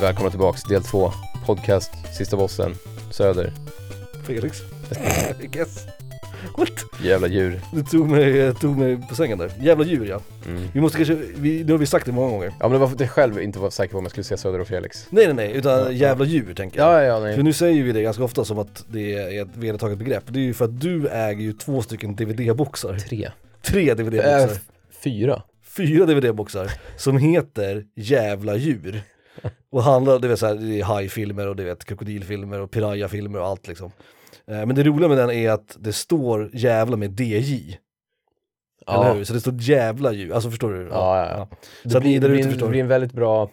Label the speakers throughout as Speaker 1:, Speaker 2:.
Speaker 1: välkomna tillbaks del två. Podcast, sista bossen, Söder.
Speaker 2: Felix. Yes. What?
Speaker 1: Jävla djur.
Speaker 2: Du tog mig, eh, tog mig på sängen där. Jävla djur ja.
Speaker 1: Mm.
Speaker 2: Vi måste kanske, vi, nu har vi sagt det många gånger.
Speaker 1: Ja men det var för att jag själv inte var säker på om jag skulle säga Söder och Felix.
Speaker 2: Nej nej nej, utan
Speaker 1: Ja, ja.
Speaker 2: jävla djur tänker jag.
Speaker 1: Ja, ja, ja,
Speaker 2: För
Speaker 1: nej.
Speaker 2: nu säger vi det ganska ofta som att det är ett vedertaget begrepp. Det är ju för att du äger ju två stycken DVD-boxar.
Speaker 1: Tre.
Speaker 2: Tre
Speaker 1: Äh,
Speaker 2: DVD-boxar.
Speaker 1: fyra.
Speaker 2: Fyra DVD-boxar som heter jävla djur. Och handlar, du vet såhär, det är hajfilmer och du vet krokodilfilmer och pirayafilmer och allt liksom. Eh, Men det roliga med den är att det står jävla med DJ.
Speaker 1: Ja.
Speaker 2: Eller hur? Så det står jävla djur, alltså förstår du?
Speaker 1: Ja, ja, ja.
Speaker 2: Så
Speaker 1: Det
Speaker 2: att ni
Speaker 1: blir,
Speaker 2: där
Speaker 1: det, blir
Speaker 2: ute
Speaker 1: en, det
Speaker 2: förstår.
Speaker 1: blir en väldigt bra,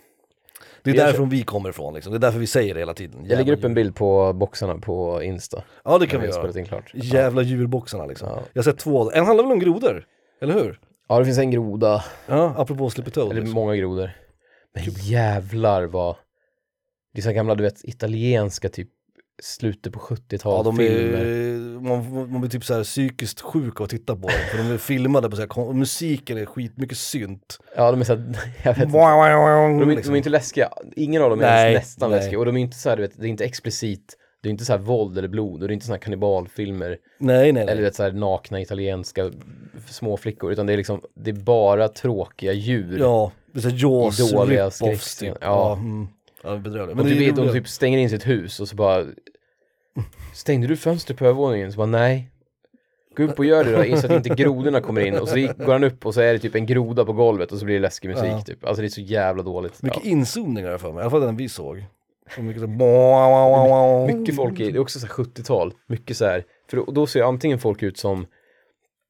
Speaker 2: det är
Speaker 1: jag
Speaker 2: därifrån vi kommer ifrån liksom, det är därför vi säger det hela tiden.
Speaker 1: jag lägger
Speaker 2: Jävla
Speaker 1: upp en
Speaker 2: djur.
Speaker 1: bild på boxarna på Insta.
Speaker 2: Ja det kan vi
Speaker 1: När har
Speaker 2: göra.
Speaker 1: spelat in klart.
Speaker 2: Jävla djurboxarna liksom.
Speaker 1: Ja.
Speaker 2: Jag har sett två, en handlar väl om grodor? Eller hur?
Speaker 1: Ja det finns en groda,
Speaker 2: Ja, apropå Sleepy Toad.
Speaker 1: eller
Speaker 2: liksom.
Speaker 1: många grodor. Men jävlar vad, det är så här gamla du vet italienska typ slutet på 70-talet
Speaker 2: Ja, de är,
Speaker 1: filmer.
Speaker 2: man, man blir typ så här psykiskt sjuk av att titta på dem, för de är filmade på så här, kon- musiken är skitmycket synt.
Speaker 1: Ja de är så här, jag vet inte. De är,
Speaker 2: liksom.
Speaker 1: de är inte läskiga, ingen av dem är
Speaker 2: Nej,
Speaker 1: ens nästan
Speaker 2: nej.
Speaker 1: läskiga. Och de är inte så här, du vet, det är inte explicit, det är inte så här våld eller blod och det är inte så här kannibalfilmer.
Speaker 2: Nej, nej, nej.
Speaker 1: Eller du vet, så här nakna italienska f- små flickor utan det är liksom, det är bara tråkiga djur.
Speaker 2: Ja, det är så här Jaws
Speaker 1: Dåliga
Speaker 2: rip-offs typ.
Speaker 1: skräckscener.
Speaker 2: Ja,
Speaker 1: Ja.
Speaker 2: mm. ja bedrövligt.
Speaker 1: Men
Speaker 2: Men
Speaker 1: de,
Speaker 2: det är
Speaker 1: typ, de
Speaker 2: roliga.
Speaker 1: typ stänger in sitt hus och så bara Stängde du fönster på övervåningen? Så bara nej Gå upp och gör det då, så att inte grodorna kommer in och så går han upp och så är det typ en groda på golvet och så blir det läskig musik
Speaker 2: Ja.
Speaker 1: typ Alltså det är så jävla dåligt
Speaker 2: Mycket
Speaker 1: ja.
Speaker 2: inzoomningar har jag för mig, i alla fall den vi såg. Och mycket så här,
Speaker 1: Mycket folk i, det är också så här 70-tal Mycket så här, för då, då ser antingen folk ut som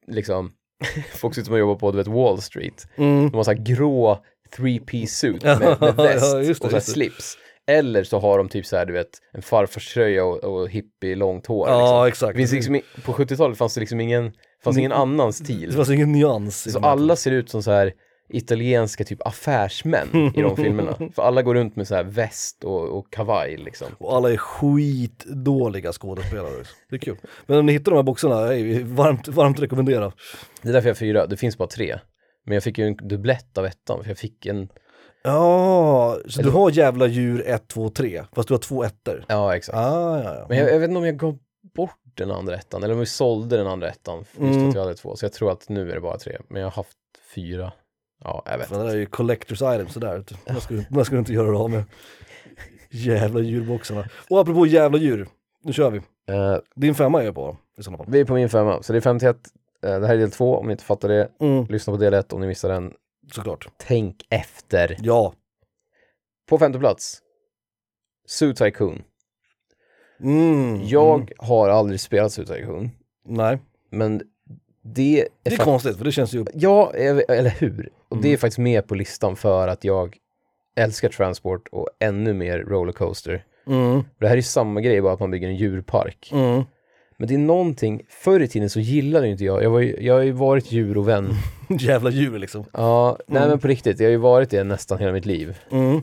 Speaker 1: Liksom Folk ser ut som att jobba på du vet Wall Street
Speaker 2: Mm.
Speaker 1: De har så här grå three piece suit med, med väst
Speaker 2: Ja, just det,
Speaker 1: och så här
Speaker 2: just det.
Speaker 1: slips. Eller så har de typ så här, du vet, en farfarströja och, och hippie långt hår.
Speaker 2: Ja,
Speaker 1: liksom.
Speaker 2: exakt.
Speaker 1: Det finns liksom, i- på 70-talet fanns det liksom ingen, fanns ingen annan stil.
Speaker 2: Mm. Det fanns ingen nyans. i
Speaker 1: Så
Speaker 2: de här.
Speaker 1: alla ser ut som så här italienska typ affärsmän i de filmerna. För alla går runt med så här väst och, och kavaj liksom.
Speaker 2: Och alla är skitdåliga skådespelare. också. Det är kul. Men om ni hittar de här boxarna, hej, varmt, varmt rekommendera.
Speaker 1: Det är därför jag har fyra, det finns bara tre. Men jag fick ju en dubblett av ettan, för jag fick en,
Speaker 2: Ja, så du har jävla djur 1, 2, 3, fast du har två ettor.
Speaker 1: ja exakt.
Speaker 2: Ah, ja, ja.
Speaker 1: Men jag, jag vet inte om jag gav bort den andra ettan, eller om vi sålde den andra ettan, just
Speaker 2: Mm.
Speaker 1: att jag hade två. Så jag tror att nu är det bara tre, men jag har haft fyra. Ja, jag vet.
Speaker 2: Fan, det där är ju collectors items sådär. Typ. Man ska, man ska inte göra det av med. Jävla djurboxarna. Och apropå jävla djur, nu kör vi.
Speaker 1: Eh,
Speaker 2: Din femma är jag på i sådana fall.
Speaker 1: vi är på min femma, så det är 51. Eh, det här är del två, om ni inte fattar det.
Speaker 2: Mm,
Speaker 1: Lyssna på del ett om ni missar den.
Speaker 2: såklart.
Speaker 1: Tänk efter.
Speaker 2: Ja.
Speaker 1: På femte plats, Zoo Tycoon.
Speaker 2: Mm.
Speaker 1: Jag
Speaker 2: Mm.
Speaker 1: har aldrig spelat Zoo Tycoon,
Speaker 2: Nej,
Speaker 1: men det är,
Speaker 2: det är
Speaker 1: fak-
Speaker 2: konstigt för det känns ju...
Speaker 1: Ja, jag- eller hur? Och det är faktiskt med på listan för att jag älskar Transport och ännu mer Rollercoaster.
Speaker 2: Mm,
Speaker 1: Och Det här är ju samma grej, bara att man bygger en djurpark.
Speaker 2: mm.
Speaker 1: Men det är någonting, förr i tiden så gillade ju inte jag, jag, var ju, jag har ju varit djur och vän.
Speaker 2: Jävla djur liksom.
Speaker 1: Ja, nej men på riktigt, jag har ju varit det nästan hela mitt liv.
Speaker 2: Mm.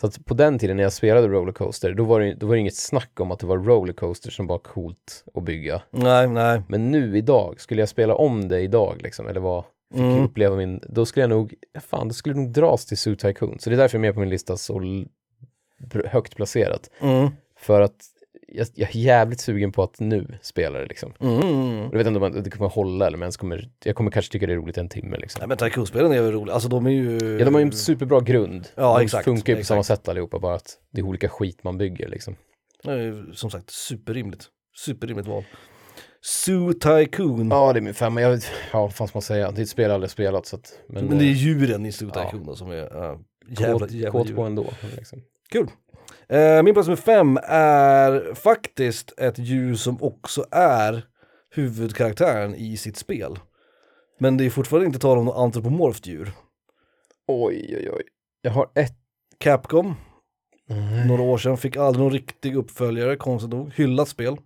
Speaker 1: Så att på den tiden när jag spelade rollercoaster, då var det, då var det inget snack om att det var rollercoaster som var coolt att bygga.
Speaker 2: Nej, nej.
Speaker 1: Men nu idag, skulle jag spela om det idag liksom, eller vad, fick
Speaker 2: Mm.
Speaker 1: uppleva min, då skulle jag nog, ja, fan, då skulle jag nog dras till Zoo Tycoon. Så det är därför jag är med på min lista så l- pr- högt placerat.
Speaker 2: Mm.
Speaker 1: För att jag, jag är jävligt sugen på att nu spela det liksom.
Speaker 2: Mm.
Speaker 1: Och Jag vet inte om jag- det kommer hålla eller men ens kommer, jag kommer kanske tycka det är roligt en timme liksom.
Speaker 2: Nej men Tycoon-spelen är väl roliga, alltså de är ju...
Speaker 1: Ja, de har ju en superbra grund.
Speaker 2: Ja,
Speaker 1: de
Speaker 2: exakt,
Speaker 1: funkar ju på
Speaker 2: exakt.
Speaker 1: samma sätt allihopa, bara att det är olika skit man bygger liksom.
Speaker 2: Det är ju som sagt superrimligt. Superrimligt val. Zoo Tycoon.
Speaker 1: Ja, det är min femma. Jag, vet- ja, vad fan ska man säga? Det är ett spel jag aldrig spelat så att, men,
Speaker 2: men det är
Speaker 1: eh,
Speaker 2: djuren i Zoo
Speaker 1: ja.
Speaker 2: Tycoon då som är uh, jävla,
Speaker 1: kåt,
Speaker 2: jävla
Speaker 1: kåt på
Speaker 2: djur.
Speaker 1: ändå. Liksom.
Speaker 2: Kul. Eh, min plats nummer fem är faktiskt ett djur som också är huvudkaraktären i sitt spel. Men det är fortfarande inte tal om något antropomorft djur.
Speaker 1: Oj, oj, oj. Jag har ett.
Speaker 2: Capcom, några år sedan, fick aldrig någon riktig uppföljare, konstigt nog. Hyllat spel.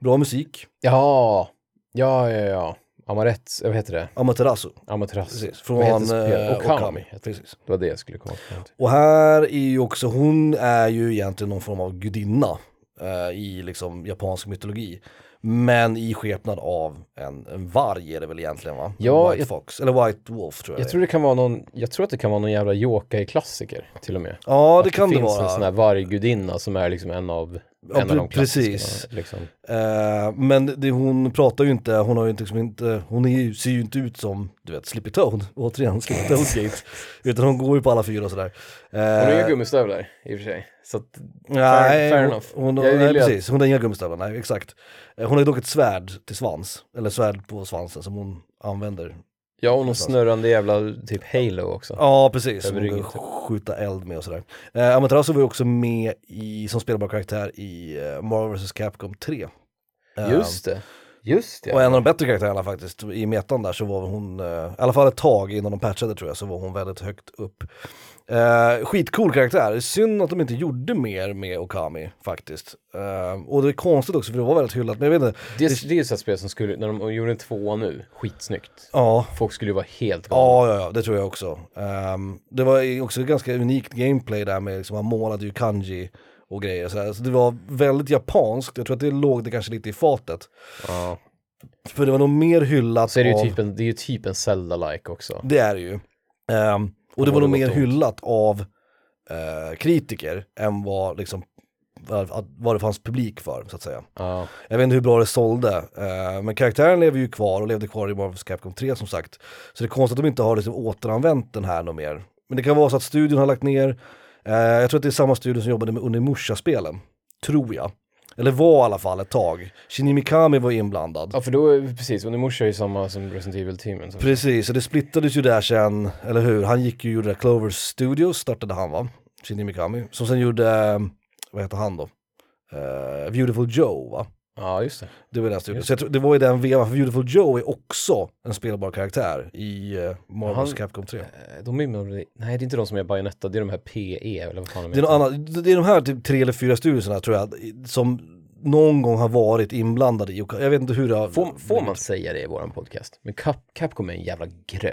Speaker 2: Bra musik.
Speaker 1: Ja, ja, ja, ja. Amarets, vad heter det?
Speaker 2: Amaterasu.
Speaker 1: Amaterasu.
Speaker 2: Precis,
Speaker 1: Vad heter
Speaker 2: från
Speaker 1: spelet?
Speaker 2: eh,
Speaker 1: Okami
Speaker 2: Okami.
Speaker 1: heter det.
Speaker 2: Precis.
Speaker 1: Det var det jag skulle komma fram till.
Speaker 2: Och här är ju också, hon är ju egentligen någon form av gudinna eh, i liksom japansk mytologi. Men i skepnad av en, en varg är det väl egentligen va? En
Speaker 1: Ja,
Speaker 2: White
Speaker 1: jag-
Speaker 2: Fox, eller White Wolf tror jag,
Speaker 1: Jag
Speaker 2: det är.
Speaker 1: tror det kan vara någon, jag tror att det kan vara någon jävla yokai-klassiker till och med.
Speaker 2: Ja
Speaker 1: Att
Speaker 2: det kan det,
Speaker 1: finns en sån
Speaker 2: vara.
Speaker 1: här varggudinna som är liksom en av,
Speaker 2: Ja,
Speaker 1: en av de
Speaker 2: pre- precis.
Speaker 1: klassikerna, Liksom.
Speaker 2: Eh, men det, hon pratar ju inte, hon har ju inte, liksom inte hon är ju, ser ju inte ut som, du vet, Slippy Toad, återigen Slippy Toad-gate. Utan hon går ju på alla fyra och sådär.
Speaker 1: Hon
Speaker 2: Eh,
Speaker 1: har inga gummistövlar i och för sig. Så att,
Speaker 2: Nej,
Speaker 1: fair
Speaker 2: hon-
Speaker 1: enough.
Speaker 2: Hon,
Speaker 1: Jag
Speaker 2: nej,
Speaker 1: gillar ju att-
Speaker 2: precis, hon har inga gummistövlar, nej exakt. Eh, Hon har dock ett svärd till svans, eller svärd på svansen som hon använder.
Speaker 1: ja, och någon snurrande jävla typ Halo också.
Speaker 2: Ja precis, som
Speaker 1: Över
Speaker 2: hon kan
Speaker 1: ryggen,
Speaker 2: skjuta eld med och sådär. Eh, Amaterasu var ju också med i, som spelbar karaktär i eh, Marvel vs Capcom 3. Eh,
Speaker 1: Just det. Just det.
Speaker 2: Och en av de bättre karaktärerna faktiskt, i metan där så var hon, eh, i alla fall ett tag innan de patchade tror jag, så var hon väldigt högt upp. Eh, skitcool karaktär, synd att de inte gjorde mer med Okami faktiskt. Eh, och det är konstigt också för det var väldigt hyllat, men jag vet inte.
Speaker 1: det, är- det är ju ett sånt spel som skulle, när de gjorde en tvåa nu, skitsnyggt.
Speaker 2: Ja,
Speaker 1: Folk skulle ju vara helt galna.
Speaker 2: Ja, ja, ja, det tror jag också. Ehm, det var ju också ganska unikt gameplay där med, liksom, han målade ju kanji och grejer. Så, här. så det var väldigt japanskt, jag tror att det låg det kanske lite i fatet.
Speaker 1: Ja.
Speaker 2: För det var nog mer hyllat
Speaker 1: Så är det ju
Speaker 2: av... Mm.
Speaker 1: typ en, det är ju typ en Zelda-like också.
Speaker 2: Det är det ju. Ehm, och det
Speaker 1: Ja,
Speaker 2: var
Speaker 1: det
Speaker 2: nog mer
Speaker 1: låter ont.
Speaker 2: hyllat av eh, kritiker än vad, liksom, vad, vad det fanns publik för, så att säga.
Speaker 1: Ja.
Speaker 2: Jag vet inte hur bra det sålde, eh, men karaktären lever ju kvar och levde kvar i Marvel's Capcom 3 som sagt. Så det är konstigt att de inte har liksom återanvänt den här något mer. Men det kan vara så att studion har lagt ner, eh, jag tror att det är samma studio som jobbade med Unimusha-spelen, tror jag. Eller var i alla fall ett tag. Shinji Mikami var inblandad.
Speaker 1: ja, för då, är- precis, och Nemusha är ju samma som Resident Evil-teamen. så-
Speaker 2: Precis, så det splittades ju där sen, eller hur? Han gick ju och gjorde Clover Studios, startade han va? Shinji Mikami. Som sen gjorde, eh, vad heter han då? Eh, Beautiful Joe va?
Speaker 1: Ja, just det.
Speaker 2: Det var den studion. Så jag tror, det var ju den vevan, för Beautiful Joe är också en spelbar karaktär i uh, Marvel's
Speaker 1: Han-
Speaker 2: Capcom 3.
Speaker 1: Eh, De är med, nej, det är inte de som är Bayonetta, det är de här PE, eller vad fan de
Speaker 2: Det är, någon annan, det är de här typ tre eller fyra studierna tror jag, i- som någon gång har varit inblandade i, och jag vet inte hur det har...
Speaker 1: Får, får man säga det i våran podcast? Men Cap, Capcom är en jävla gröt.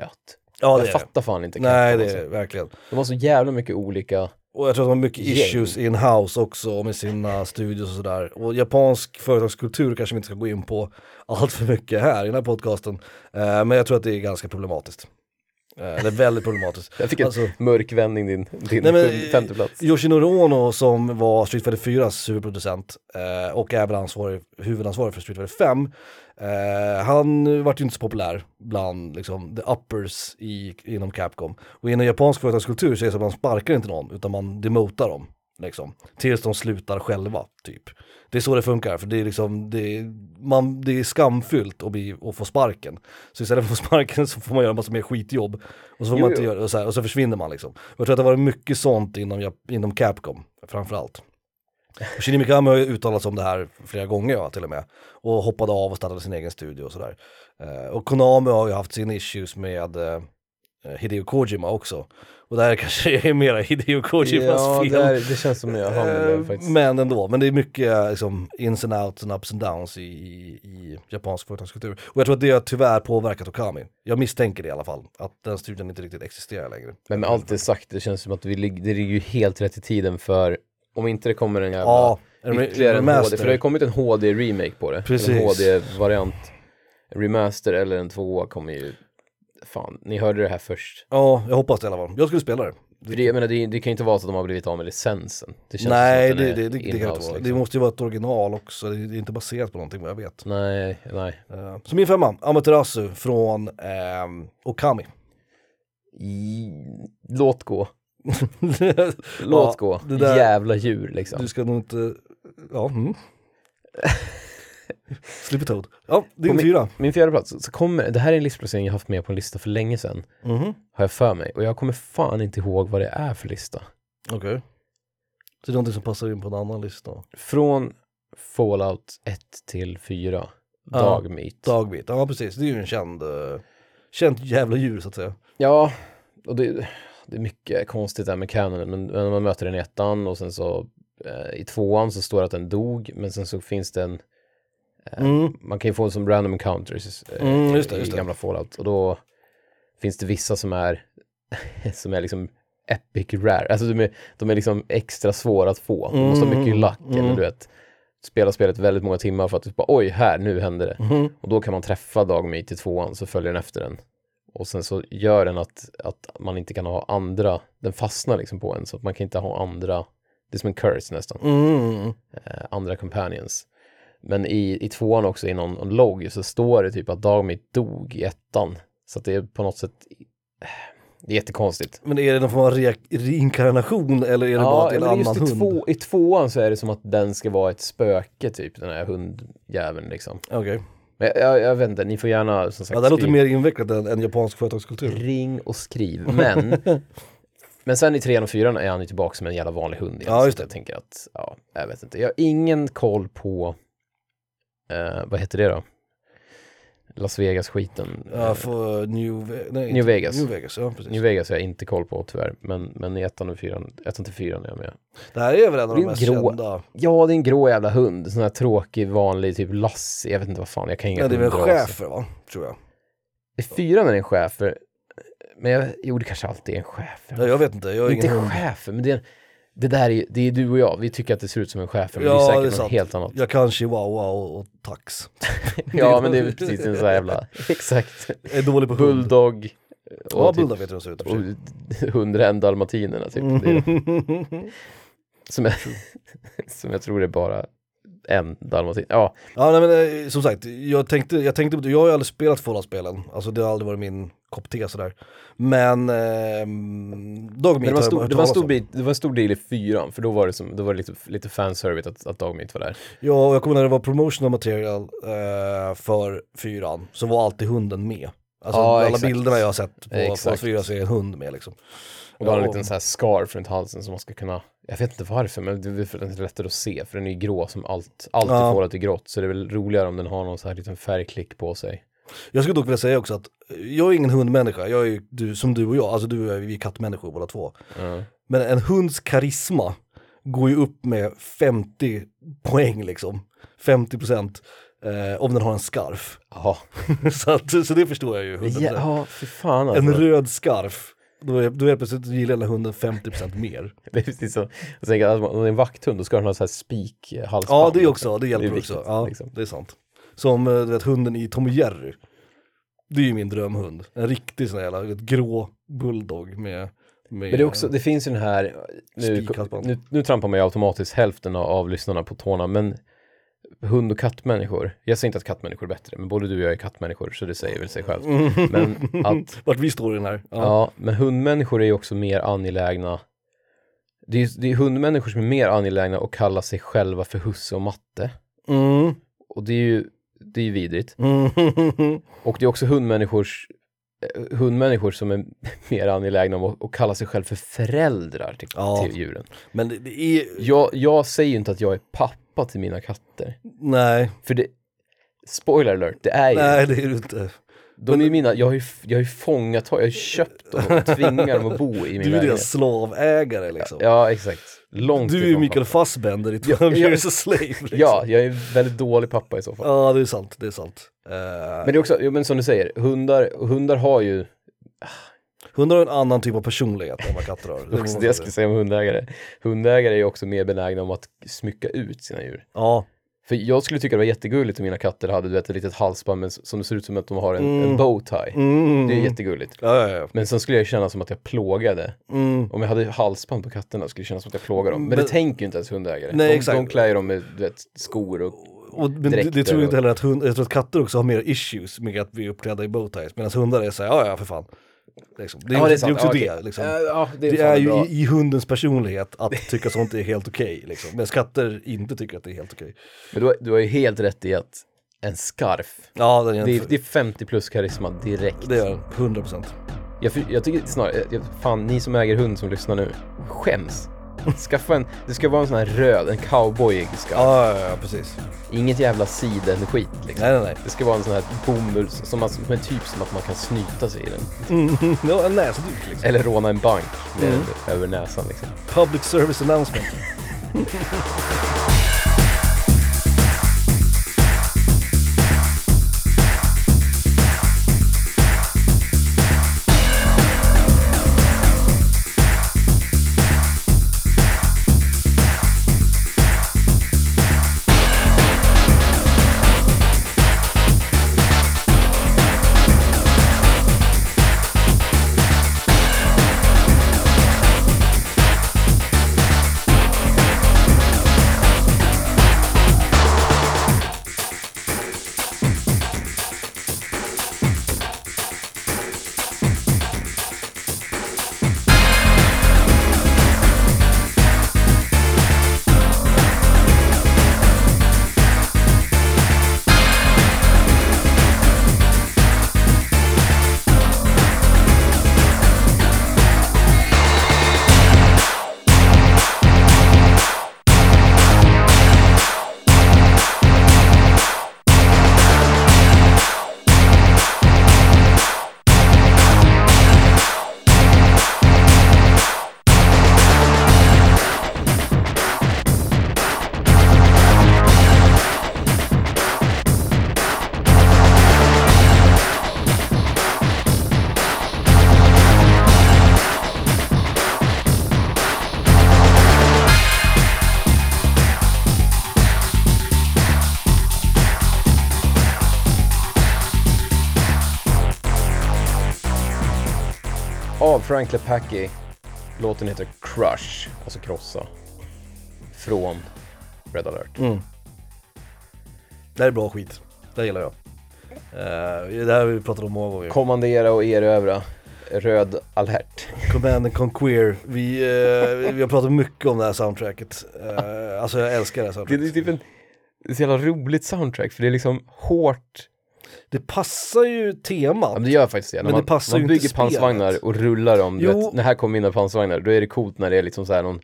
Speaker 2: Ja, det
Speaker 1: jag
Speaker 2: är det.
Speaker 1: fattar fan inte Capcom.
Speaker 2: Nej, det är
Speaker 1: alltså.
Speaker 2: det verkligen.
Speaker 1: De har så jävla mycket olika.
Speaker 2: Och jag tror att de har mycket
Speaker 1: Gäng.
Speaker 2: issues in-house också med sina studios och sådär. Och japansk företagskultur kanske vi inte ska gå in på allt för mycket här i den här podcasten. Eh, men jag tror att det är ganska problematiskt. Eh, det är väldigt problematiskt.
Speaker 1: Jag fick en
Speaker 2: Alltså-
Speaker 1: mörk vändning din, din
Speaker 2: Nej, men-
Speaker 1: sjunde- femteplats.
Speaker 2: Yoshinori Ono som var Street Fighter 4s huvudproducent eh, och även ansvarig, huvudansvarig för Street Fighter 5. Eh, han vart ju inte så populär bland liksom, the uppers i, inom Capcom. Och inom japansk företagskultur så är det så att man sparkar inte någon utan man demotar dem. Liksom, tills de slutar själva, typ. Det är så det funkar, för det är, liksom, det är, man, det är skamfyllt att, bli, att få sparken. Så istället för att få sparken så får man göra en massa mer skitjobb. Och så får
Speaker 1: Jo,
Speaker 2: man inte
Speaker 1: jo.
Speaker 2: göra, och, så här, och så försvinner man liksom. Och jag tror att det har varit mycket sånt inom, Jap- inom Capcom, framförallt. Och Shinji Mikami har ju uttalat sig om det här flera gånger ja, till och med. Och hoppade av och startade sin egen studio och sådär. Eh, och Konami har ju haft sina issues med eh, Hideo Kojima också. Och det här kanske är mera Hideo Kojimas
Speaker 1: Ja,
Speaker 2: fel.
Speaker 1: det, här, det känns som jag hamnade där
Speaker 2: Eh,
Speaker 1: faktiskt.
Speaker 2: Men ändå, men det är mycket eh, liksom, ins and outs and ups and downs i, i, i japansk företagskultur. Och jag tror att det har tyvärr påverkat Okami. Jag misstänker det i alla fall, att den studien inte riktigt existerar längre.
Speaker 1: Men med allt det sagt, det känns som att vi lig- det ligger ju helt rätt i tiden för om inte det kommer en jävla
Speaker 2: Ja, en re-
Speaker 1: ytterligare en HD,
Speaker 2: remaster.
Speaker 1: för det har ju kommit en HD-remake på det.
Speaker 2: Precis.
Speaker 1: En HD-variant. En Remaster eller en tvåa kommer ju, fan, ni hörde det här först.
Speaker 2: Ja, jag hoppas det i alla fall. Jag skulle spela det.
Speaker 1: För det, jag menar, det, det kan ju inte vara så att de har blivit av med licensen. Det känns
Speaker 2: Nej,
Speaker 1: som att
Speaker 2: det,
Speaker 1: den
Speaker 2: det,
Speaker 1: är
Speaker 2: det, det kan det inte
Speaker 1: in-house,
Speaker 2: vara. Det
Speaker 1: liksom.
Speaker 2: måste ju vara ett original också, det är inte baserat på någonting vad jag vet.
Speaker 1: Nej, nej.
Speaker 2: Eh, Så min femma, Amaterasu från ehm, Okami.
Speaker 1: I... Låt gå. Låt
Speaker 2: Ja,
Speaker 1: gå.
Speaker 2: det där-
Speaker 1: Jävla djur liksom.
Speaker 2: Du ska nog inte, ja. Mm. Slipper Toad. Ja, det är
Speaker 1: På
Speaker 2: en
Speaker 1: min-
Speaker 2: fyra.
Speaker 1: Min fjärde plats, så kommer, det här är en listplacering jag haft med på en lista för länge sedan.
Speaker 2: Mhm.
Speaker 1: har jag för mig. Och jag kommer fan inte ihåg vad det är för lista.
Speaker 2: Okej. Så det är någonting som passar in på en annan lista?
Speaker 1: Från Fallout 1 till 4,
Speaker 2: Ja.
Speaker 1: Dagmeat.
Speaker 2: Dagbit, ja precis. Det är ju en känd, eh, känt jävla djur så att säga.
Speaker 1: Ja, och det, det är mycket konstigt där med kanonen, men men man möter den i ettan och sen så eh, i tvåan så står det att den dog, men sen så finns det en,
Speaker 2: Mm.
Speaker 1: man kan ju få en som random encounters eh,
Speaker 2: Mm, just det,
Speaker 1: i
Speaker 2: just det.
Speaker 1: gamla Fallout och då finns det vissa som är, som är liksom epic rare, alltså de är, de är liksom extra svåra att få, de måste ha
Speaker 2: Mm,
Speaker 1: mycket
Speaker 2: mm,
Speaker 1: luck eller
Speaker 2: mm.
Speaker 1: du vet, spela spelet väldigt många timmar för att typ bara, oj, här, nu hände det.
Speaker 2: Mhm.
Speaker 1: Och då kan man träffa Dagmy till tvåan, så följer den efter den. Och sen så gör den att, att man inte kan ha andra, den fastnar liksom på en, så att man kan inte ha andra, det är som en curse nästan,
Speaker 2: Mm.
Speaker 1: eh, andra companions. Men i, i tvåan också, i någon, någon logg, så står det typ att Dagmy dog i ettan. Så att det är på något sätt, eh, det är jättekonstigt.
Speaker 2: Men är det någon form av re- reinkarnation eller är det bara till en
Speaker 1: men
Speaker 2: annan
Speaker 1: just i,
Speaker 2: hund?
Speaker 1: två, i tvåan så är det som att den ska vara ett spöke typ, den här hundjäveln liksom.
Speaker 2: Okej.
Speaker 1: Men jag, jag, jag vet inte, ni får gärna som sagt
Speaker 2: Ja, det låter
Speaker 1: skriva-
Speaker 2: mer invecklat än, än japansk företagskultur.
Speaker 1: Ring och skriv. Men, men sen i trean och fyran är han ju tillbaka som en jävla vanlig hund. igen.
Speaker 2: Ja, just
Speaker 1: Så Jag tänker att, ja, jag vet inte. Jag har ingen koll på, eh, vad heter det då? Las Vegas-skiten.
Speaker 2: Ja,
Speaker 1: Eh,
Speaker 2: för New, Ve- nej,
Speaker 1: New
Speaker 2: inte-
Speaker 1: Vegas.
Speaker 2: New Vegas, ja precis.
Speaker 1: New Vegas har jag inte koll på tyvärr, men, men i ettan och fyran, ettan till fyran är jag med.
Speaker 2: Det här är väl en av
Speaker 1: Det är
Speaker 2: de
Speaker 1: en
Speaker 2: mest
Speaker 1: grå-
Speaker 2: kända.
Speaker 1: Ja, det är en grå jävla hund. Sån här tråkig, vanlig, typ Lasse. Jag vet inte vad fan, jag kan inga
Speaker 2: Ja, det är väl
Speaker 1: hundraser.
Speaker 2: chefer va, tror jag.
Speaker 1: I fyran är det en schäfer. Men jag, jo, det kanske alltid är en schäfer.
Speaker 2: Ja, jag vet inte, jag är
Speaker 1: inte
Speaker 2: ingen hund.
Speaker 1: chefer, men det är, det där är, ju- det är du och jag, vi tycker att det ser ut som en chefer, men
Speaker 2: Ja,
Speaker 1: det är
Speaker 2: det är
Speaker 1: säkert något
Speaker 2: sant.
Speaker 1: helt annat.
Speaker 2: Jag kan chihuahua och, och tax.
Speaker 1: Ja, men det är väl precis en sån här jävla, exakt.
Speaker 2: Jag är dålig på hund.
Speaker 1: Bulldog och,
Speaker 2: Ja,
Speaker 1: typ,
Speaker 2: bulldog vet jag hur de ser ut. i och för sig.
Speaker 1: och hundrandalmatinerna typ.
Speaker 2: Mm.
Speaker 1: Det är, som, jag, som jag tror det är bara en dalmatin. Ja,
Speaker 2: Ja, nej, men eh, som sagt, jag tänkte, jag tänkte på det. jag har ju aldrig spelat Fallout-spelen, alltså det har aldrig varit min kopp te sådär. Men, ehm, Dogmeat
Speaker 1: men det var, en
Speaker 2: har jag bara
Speaker 1: stor,
Speaker 2: hört
Speaker 1: det, var en
Speaker 2: talas
Speaker 1: stor
Speaker 2: om.
Speaker 1: bit, det var en stor del i fyran, för då var det, som, då var det lite, lite fanservice att, att Dogmeat var där.
Speaker 2: Ja, och jag kommer när det var promotional material eh, för fyran, så var alltid hunden med. Alltså
Speaker 1: Ja,
Speaker 2: alla
Speaker 1: exakt.
Speaker 2: bilderna jag har sett på
Speaker 1: Exakt.
Speaker 2: Fallout 4 så är en hund med liksom.
Speaker 1: Och då har han en
Speaker 2: Ja,
Speaker 1: liten så här scarf runt halsen som man ska kunna, jag vet inte varför, men det är väl för att den är lättare att se, för den är ju grå som allt, allt
Speaker 2: Ja.
Speaker 1: i Fallout är grått, så det är väl roligare om den har någon så här liten färgklick på sig.
Speaker 2: Jag skulle dock vilja säga också att eh, jag är ingen hundmänniska, jag är ju du, som du och jag, alltså du och jag, vi är kattmänniskor båda två.
Speaker 1: Ja.
Speaker 2: Men en hunds karisma går ju upp med 50 poäng liksom, 50 procent, eh, om den har en skarf.
Speaker 1: Jaha.
Speaker 2: så, att, så det förstår jag ju. 100%.
Speaker 1: Ja, ja, för fan
Speaker 2: En
Speaker 1: alltså.
Speaker 2: röd scarf, då är, då är det plötsligt gillar den här hunden 50% mer.
Speaker 1: Det är precis som, jag tänker att om det är en vakthund, då ska den ha så här spikhalsband.
Speaker 2: Ja, det är också, det hjälper
Speaker 1: Det är
Speaker 2: också.
Speaker 1: viktigt,
Speaker 2: Ja,
Speaker 1: liksom.
Speaker 2: Det är sant. Som eh, du vet, hunden i Tom och Jerry. Det är ju min drömhund. En riktig sån här jävla, du vet, grå bulldog med, med
Speaker 1: Men det, är också, det finns ju den här, nu,
Speaker 2: Spikhalsband.
Speaker 1: nu, nu trampar man ju automatiskt hälften av- av lyssnarna på tårna, men hund och kattmänniskor, jag säger inte att kattmänniskor är bättre, men både du och jag är kattmänniskor, så det säger väl sig självt. Men att
Speaker 2: Vart vi står i den här. Ja.
Speaker 1: Ja, men hundmänniskor är ju också mer angelägna. Det är, det är hundmänniskor som är mer angelägna att kalla sig själva för husse och matte.
Speaker 2: Mm.
Speaker 1: Och det är ju det är ju vidrigt.
Speaker 2: Mm.
Speaker 1: Och det är också hundmänniskors, eh, hundmänniskor som är mer angelägna om att, att kalla sig själv för föräldrar till,
Speaker 2: Ja.
Speaker 1: till djuren.
Speaker 2: Men det, det är,
Speaker 1: Jag, jag säger ju inte att jag är pappa till mina katter.
Speaker 2: nej,
Speaker 1: För det, spoiler alert, det är ju,
Speaker 2: nej det är du inte.
Speaker 1: de är ju mina, jag har ju, f- jag har ju fångat, jag har ju köpt dem och tvingar dem att bo i min
Speaker 2: Du är
Speaker 1: lägenhet.
Speaker 2: deras slavägare liksom.
Speaker 1: Ja, exakt. Långt
Speaker 2: Du är ju
Speaker 1: ifrån
Speaker 2: Mikael Fassbender i 12
Speaker 1: ja.
Speaker 2: years a slave. Liksom.
Speaker 1: Ja, jag är en väldigt dålig pappa i så fall.
Speaker 2: ja, det är sant, det är sant. Eh,
Speaker 1: Men det är också, jo, men som du säger, hundar, hundar har ju,
Speaker 2: Hundar har en annan typ av personlighet än vad katter har.
Speaker 1: det är också det jag skulle säga om hundägare, hundägare är ju också mer benägna om att smycka ut sina djur.
Speaker 2: Ja,
Speaker 1: För jag skulle tycka det var jättegulligt om mina katter hade du vet, ett litet halsband men som det ser ut som att de har en, en bowtie.
Speaker 2: Mm.
Speaker 1: Det är jättegulligt.
Speaker 2: ja, ja, ja.
Speaker 1: Men sen skulle jag ju känna som att jag plågade.
Speaker 2: Mm.
Speaker 1: Om jag hade halsband på katterna skulle det kännas som att jag plågar dem. Men,
Speaker 2: Men-
Speaker 1: det tänker ju inte ens hundägare.
Speaker 2: Nej,
Speaker 1: de,
Speaker 2: exakt.
Speaker 1: de klär ju dem med du vet, skor och...
Speaker 2: Och, men det, det
Speaker 1: Dräkter
Speaker 2: tror jag
Speaker 1: och-
Speaker 2: inte heller att hund, jag tror att katter också har mer issues med att bli uppklädda i bowties. Medan hundar är såhär, ja ja för fan. Liksom. Det, är också- det är
Speaker 1: sant.
Speaker 2: också
Speaker 1: Ja,
Speaker 2: det.
Speaker 1: okej.
Speaker 2: Liksom.
Speaker 1: Ja, ja, det är,
Speaker 2: det
Speaker 1: fan
Speaker 2: är
Speaker 1: en
Speaker 2: ju
Speaker 1: bra-
Speaker 2: i, i hundens personlighet att tycka sånt är helt okej. liksom. Medan katter inte tycker att det är helt okej.
Speaker 1: Men du, har- du har ju helt rätt i att en scarf,
Speaker 2: Ja, den är
Speaker 1: det
Speaker 2: det,
Speaker 1: är, det är 50 plus karisma direkt.
Speaker 2: det är den, 100 procent.
Speaker 1: Jag, för- jag tycker snarare, jag, fan ni som äger hund som lyssnar nu, skäms. Skaffa en, det ska vara en sån här röd, en cowboyig scarf.
Speaker 2: Ja, ja, ja, precis.
Speaker 1: Inget jävla sidenskit liksom.
Speaker 2: Nej, nej, nej.
Speaker 1: Det ska vara en sån här bomulls, som, man- som är typ som att man kan snyta sig i den.
Speaker 2: Ja, en näsduk liksom.
Speaker 1: Eller råna en bank med
Speaker 2: Mm.
Speaker 1: den över näsan liksom.
Speaker 2: Public service announcement.
Speaker 1: av Frank LePacky. Låten heter Crush, alltså krossa. Från Red Alert.
Speaker 2: Det här är bra skit. Det här gillar jag. Eh, det här har vi pratat om många gånger.
Speaker 1: Kommandera och erövra. Röd alert.
Speaker 2: Command and Conquer. Vi, eh, vi har pratat mycket om det här soundtracket. Eh, alltså jag älskar det här
Speaker 1: Det är
Speaker 2: soundtracket.
Speaker 1: typ en det är så jävla roligt soundtrack för det är liksom hårt.
Speaker 2: Det passar ju
Speaker 1: Ja, men
Speaker 2: temat.
Speaker 1: det gör faktiskt det. När
Speaker 2: Men det
Speaker 1: man,
Speaker 2: passar ju
Speaker 1: man
Speaker 2: inte
Speaker 1: bygger
Speaker 2: spelet.
Speaker 1: pansvagnar och rullar dem. Du
Speaker 2: Jo.
Speaker 1: vet, när här kommer mina pansvagnar, då är det coolt när det är liksom så här någon,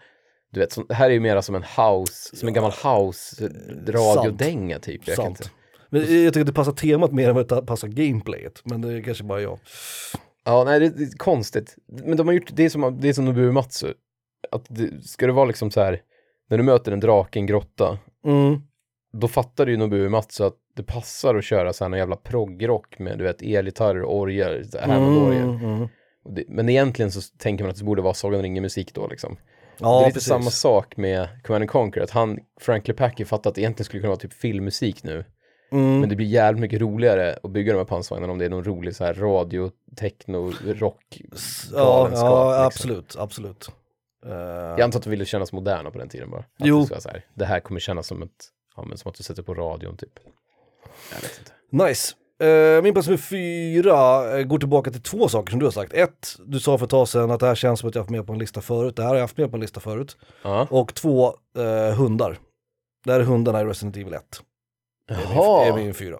Speaker 1: du vet, så, det här är ju mera som en house, som en gammal house-radiodänga typ. Jag kan inte.
Speaker 2: Sant. Men jag tycker att det passar temat mer än vad det passar gameplayet. Men det är kanske bara jag.
Speaker 1: Ja, nej, det, det är konstigt. Men de har gjort, det är som, det är som Nobuo Matsu. Att det, ska det vara liksom så här, när du möter en drake i en grotta,
Speaker 2: Mm.
Speaker 1: då fattar ju Nobuo Matsu att det passar att köra så här någon jävla proggrock med, du vet, elgitarrer och orgel, så här Hammond-orgel.
Speaker 2: Mm, mm.
Speaker 1: Och det- Men egentligen så tänker man att det borde vara Sagan om ringen-musik då liksom.
Speaker 2: Ja,
Speaker 1: det är lite
Speaker 2: precis.
Speaker 1: samma sak med Command and Conquer, att han, Frank LePacky fattar att det egentligen skulle kunna vara typ filmmusik nu.
Speaker 2: Mm.
Speaker 1: Men det blir jävligt mycket roligare att bygga de här pansarvagnarna om det är någon rolig så här radio, techno, rock.
Speaker 2: Ja,
Speaker 1: galenskap,
Speaker 2: ja
Speaker 1: liksom.
Speaker 2: absolut, absolut. Eh,
Speaker 1: Jag antar att de ville kännas moderna på den tiden bara. Att
Speaker 2: Jo.
Speaker 1: Det, ska vara så här, det här kommer kännas som, ett, ja, men som att du sätter på radion typ. Jag vet inte.
Speaker 2: Nice. Eh, min plats nummer fyra eh, går tillbaka till två saker som du har sagt. Ett, du sa för ett tag sedan att det här känns som att jag har haft med på en lista förut. Det här har jag haft med på en lista förut.
Speaker 1: Ja.
Speaker 2: Och två, eh, hundar. Det här är hundarna i Resident Evil 1. Det är min- Det är
Speaker 1: Jaha.
Speaker 2: min fyra.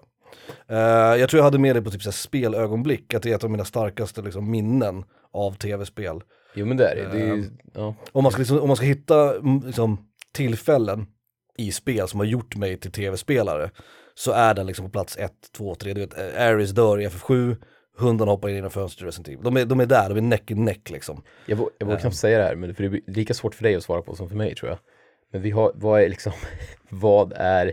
Speaker 2: Eh, jag tror jag hade med det på typ så här spelögonblick, att det är ett av mina starkaste liksom, minnen av tv-spel.
Speaker 1: Jo men det är det. det är, ju-
Speaker 2: Ehm.
Speaker 1: ja.
Speaker 2: Om man ska, liksom, om man ska hitta mm, liksom, tillfällen i spel som har gjort mig till tv-spelare så är den liksom på plats 1, 2, 3. Du vet, eh, Ares dör i FF7, hunden hoppar in genom fönstret i Resident Evil. De är, de är där, de är neck i neck liksom.
Speaker 1: Jag, vå- jag vågar knappt säga det här, men för det är lika svårt för dig att svara på som för mig tror jag. Men vi har, vad är liksom, vad är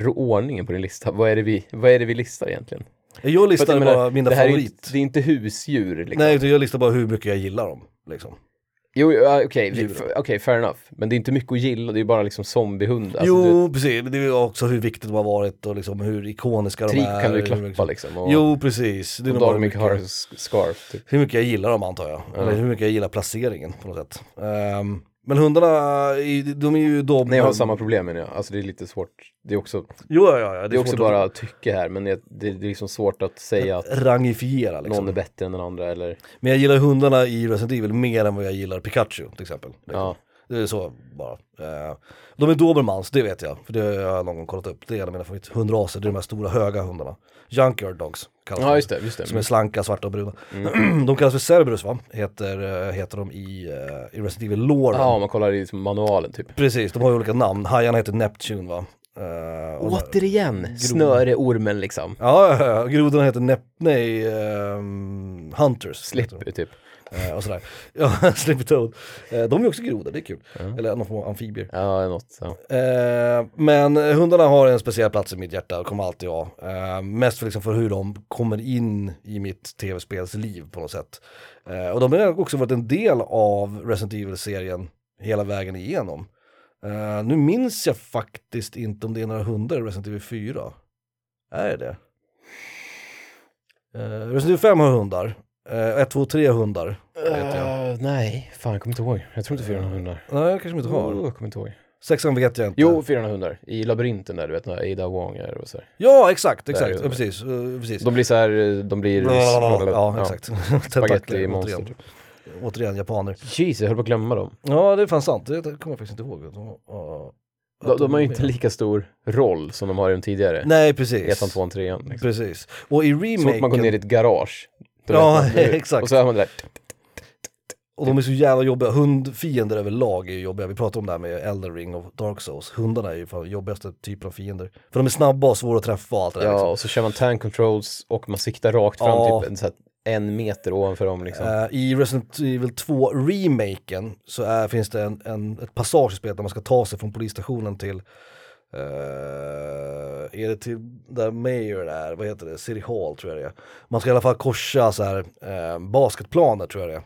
Speaker 1: ro- ordningen på din lista? Vad är det vi, vad är det vi listar egentligen? För
Speaker 2: Jag
Speaker 1: att jag
Speaker 2: listar
Speaker 1: menar,
Speaker 2: bara mina
Speaker 1: det här är ju
Speaker 2: favorit.
Speaker 1: inte- Det är inte husdjur liksom.
Speaker 2: Nej, utan jag listar bara hur mycket jag gillar dem. Liksom.
Speaker 1: Jo, jo, ja, okej, okay,
Speaker 2: Djur.
Speaker 1: fair enough. Men det är inte mycket att gilla, det är ju bara liksom zombiehundar. Alltså, du vet,
Speaker 2: jo, precis. Men Det är också hur viktigt de har varit och liksom hur ikoniska de
Speaker 1: Trico
Speaker 2: är.
Speaker 1: kan du ju
Speaker 2: hur
Speaker 1: klappa
Speaker 2: liksom.
Speaker 1: liksom. Och,
Speaker 2: Jo, precis. Det är
Speaker 1: och
Speaker 2: nog bara
Speaker 1: Dagmik
Speaker 2: mycket-
Speaker 1: har en s- scarf. Typ.
Speaker 2: hur mycket jag gillar dem antar jag. Eller hur mycket jag gillar placeringen på något sätt. Ehm, men hundarna, är- de är ju då...
Speaker 1: Nej, jag har samma problem menar jag. Alltså det är lite svårt. Det är också, det
Speaker 2: Jo, ja, ja, ja. Det,
Speaker 1: är också
Speaker 2: svårt
Speaker 1: bara tycke här, men jag, det, det är liksom svårt att säga att
Speaker 2: att rangifiera liksom.
Speaker 1: någon är bättre än den andra eller...
Speaker 2: Men jag gillar hundarna i Resident Evil mer än vad jag gillar Pikachu till exempel.
Speaker 1: Ja.
Speaker 2: Det är så bara. Ehm, de är dobermans, det vet jag. För det har jag någon gång kollat upp. Det är en av mina favorithundraser, det är de här stora höga hundarna. Junkyard dogs kallas
Speaker 1: Ja,
Speaker 2: de.
Speaker 1: just det, just det.
Speaker 2: Som är slanka, svarta och bruna. de kallas för Cerberus va? Heter, eh, heter de i, eh, i Resident Evil Lore.
Speaker 1: Ja, om man kollar i liksom manualen typ.
Speaker 2: Precis, de har ju olika namn. Hajarna heter Neptune va? Eh,
Speaker 1: Oh.
Speaker 2: och-
Speaker 1: Återigen, snöreormen liksom.
Speaker 2: Ja, ja, ja, grodorna heter Nep... Nej, ehm, Hunters. heter
Speaker 1: Slipper typ.
Speaker 2: de. Eh, och sådär. Ja, Slippy Toad. Eh, de är också grodor, det är kul. Eller någon form av amfibier.
Speaker 1: Ja, något. Ja.
Speaker 2: Eh, men hundarna har en speciell plats i mitt hjärta och kommer alltid ha. Eh, mest för, liksom för hur de kommer in i mitt tv-spelsliv på något sätt. Eh, och de har också varit en del av Resident Evil-serien hela vägen igenom. Eh, nu minns jag faktiskt inte om det är några hundar i Resident Evil 4. Är det det? Eh, Resident Evil 5 har hundar. Eh, 1, 2, 3 hundar. Vet jag.
Speaker 1: Eh, nej, fan jag kommer inte ihåg. Jag tror inte 400 hundar.
Speaker 2: Nej, kanske de inte
Speaker 1: Oh,
Speaker 2: har.
Speaker 1: jag kommer inte ihåg.
Speaker 2: Sexan vet jag inte.
Speaker 1: Jo, 400 hundar. I labyrinten där, du vet, när Ada Wong är och så här.
Speaker 2: Ja, exakt,
Speaker 1: Där är
Speaker 2: exakt.
Speaker 1: de.
Speaker 2: Ja, precis, eh, precis.
Speaker 1: De blir så här, eh, de blir...
Speaker 2: Ja, exakt. Tentakler,
Speaker 1: monster, typ.
Speaker 2: återigen. Återigen japaner.
Speaker 1: Jeez, jag höll på att glömma dem.
Speaker 2: Ja, det är fan sant. Det kommer jag faktiskt inte ihåg. De, ja, att
Speaker 1: De, de har ju
Speaker 2: var
Speaker 1: inte
Speaker 2: med.
Speaker 1: lika stor roll som de har i de tidigare.
Speaker 2: Nej, precis.
Speaker 1: Ettan, tvåan, trean. Liksom.
Speaker 2: Precis. Och i
Speaker 1: Så fort
Speaker 2: remaken,
Speaker 1: man går ner i ett garage. då
Speaker 2: Ja,
Speaker 1: räknar man ut.
Speaker 2: exakt.
Speaker 1: Och så hör man det där.
Speaker 2: och de är så jävla jobbiga. Hundfiender överlag är ju jobbiga. Vi pratade om det här med Elden Ring och Dark Souls. Hundarna är ju fan jobbigaste typen av fiender. För de är snabba och svåra att träffa och allt det där.
Speaker 1: Ja,
Speaker 2: liksom.
Speaker 1: och så kör man tank controls och man siktar rakt fram
Speaker 2: Ja.
Speaker 1: typ en, så här, en meter ovanför dem liksom.
Speaker 2: Eh, I Resident Evil 2 remaken så är, finns det en, en, ett passage i spelet där man ska ta sig från polisstationen till, eh, är det till där Mayor är, vad heter det, City Hall tror jag det är. Man ska i alla fall korsa så här, eh, basketplaner tror jag det är.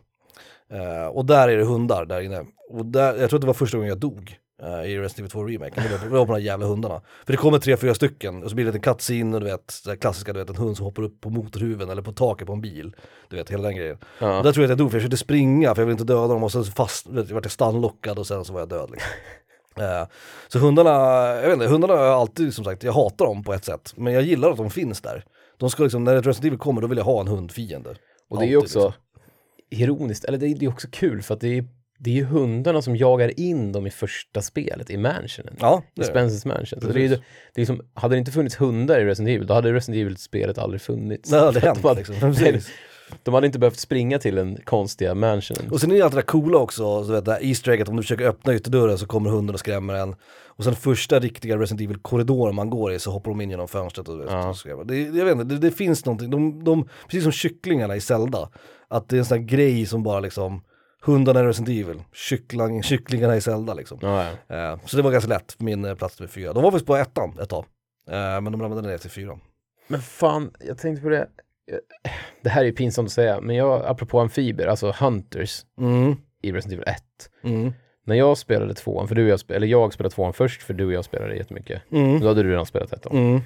Speaker 2: Eh, och där är det hundar där inne. Och där, jag tror att det var första gången jag dog. eh, i Resident Evil 2 Remake. Det var på- det var på de här jävla hundarna. För det kommer tre, fyra stycken och så blir det en cutscene och du vet, det klassiska, du vet en hund som hoppar upp på motorhuven eller på taket på en bil. Du vet, hela den grejen.
Speaker 1: Ja.
Speaker 2: Och där tror jag att jag dog för jag försökte springa för jag ville inte döda dem och sen så fast, vet, jag vart jag stannlockad och sen så var jag död. Liksom. Eh, Så hundarna, jag vet inte, hundarna har jag alltid som sagt, jag hatar dem på ett sätt. Men jag gillar att de finns där. De ska liksom, när ett Resident Evil kommer då vill jag ha en hundfiende.
Speaker 1: Och det är ju
Speaker 2: Alltid, liksom.
Speaker 1: också ironiskt, eller det är det är också kul för att det är, det är ju hundarna som jagar in dem i första spelet, i mansionen.
Speaker 2: Ja, det
Speaker 1: I
Speaker 2: är det.
Speaker 1: Spencers mansion. Så det är, ju- det är liksom, hade det inte funnits hundar i Resident Evil, då hade Resident Evil-spelet aldrig funnits.
Speaker 2: Det hade
Speaker 1: För att
Speaker 2: hänt
Speaker 1: de, hade,
Speaker 2: liksom. Precis.
Speaker 1: de hade inte behövt springa till den konstiga mansionen.
Speaker 2: Och sen är det allt det där coola också, så vet, det här Easter egget, om du försöker öppna ytterdörren så kommer hunden och skrämmer en. Och sen första riktiga Resident Evil-korridoren man går i så hoppar de in genom fönstret och, du vet,
Speaker 1: Ja.
Speaker 2: och skrämmer. Det, jag vet inte, det, det finns någonting, de, de, precis som kycklingarna i Zelda, att det är en sån här grej som bara liksom, hundarna i Resident Evil, kyckling, kycklingarna i Zelda liksom.
Speaker 1: Ja, ja.
Speaker 2: Eh, så det var ganska lätt, min eh, plats nummer fyra. De var faktiskt på ettan ett tag, eh, men de ramlade ner till fyran.
Speaker 1: Men fan, jag tänkte på det. Eh, Det här är ju pinsamt att säga, men jag, apropå amfibier, alltså hunters
Speaker 2: Mm,
Speaker 1: i Resident Evil 1.
Speaker 2: mm,
Speaker 1: När jag spelade tvåan, för du och jag, spe- eller jag spelade tvåan först, för du och jag spelade jättemycket.
Speaker 2: mm,
Speaker 1: Då hade du redan spelat ettan.
Speaker 2: mm.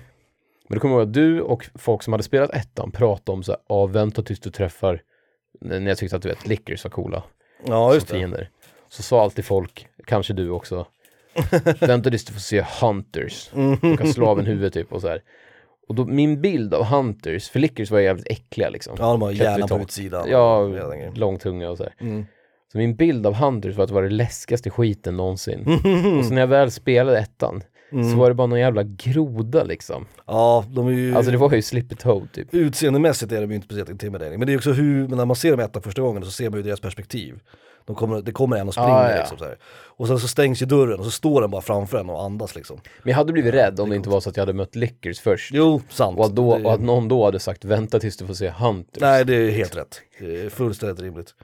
Speaker 1: Men då kommer jag ihåg att du och folk som hade spelat ettan pratade om så här, ah, vänta tills du träffar, när jag tyckte att du vet, lickers var coola
Speaker 2: Ja, just
Speaker 1: som
Speaker 2: det.
Speaker 1: fiender. Så sa alltid folk, kanske du också, vänta tills du får se hunters, de kan slå av en huvud typ och så här. Och då, min bild av hunters, för lickers var jävligt äckliga liksom.
Speaker 2: Ja, de har hjärnan på
Speaker 1: Klättertomt.
Speaker 2: utsidan.
Speaker 1: Ja,
Speaker 2: Hela den grejen.
Speaker 1: lång tunga och så här.
Speaker 2: Mm.
Speaker 1: Så min bild av Hunters var att det var det läskigaste skiten någonsin. Och så när jag väl spelade ettan så
Speaker 2: Mm.
Speaker 1: var det bara någon jävla groda liksom.
Speaker 2: Ja, de är ju...
Speaker 1: Alltså det var ju Slippy Toad typ.
Speaker 2: Utseendemässigt är de ju inte speciellt intimidating, men det är också hur, men när man ser dem äta första gången så ser man ju deras perspektiv. De kommer, det kommer en och springer
Speaker 1: Ah, ja.
Speaker 2: liksom så här. Och sen så stängs ju dörren och så står den bara framför en och andas liksom.
Speaker 1: Men jag hade blivit rädd om det inte var så att jag hade mött Lickers först.
Speaker 2: Jo, sant.
Speaker 1: Och att, då,
Speaker 2: det,
Speaker 1: och att någon då hade sagt vänta tills du får se Hunters.
Speaker 2: Nej, det är helt rätt. Det är fullständigt rimligt.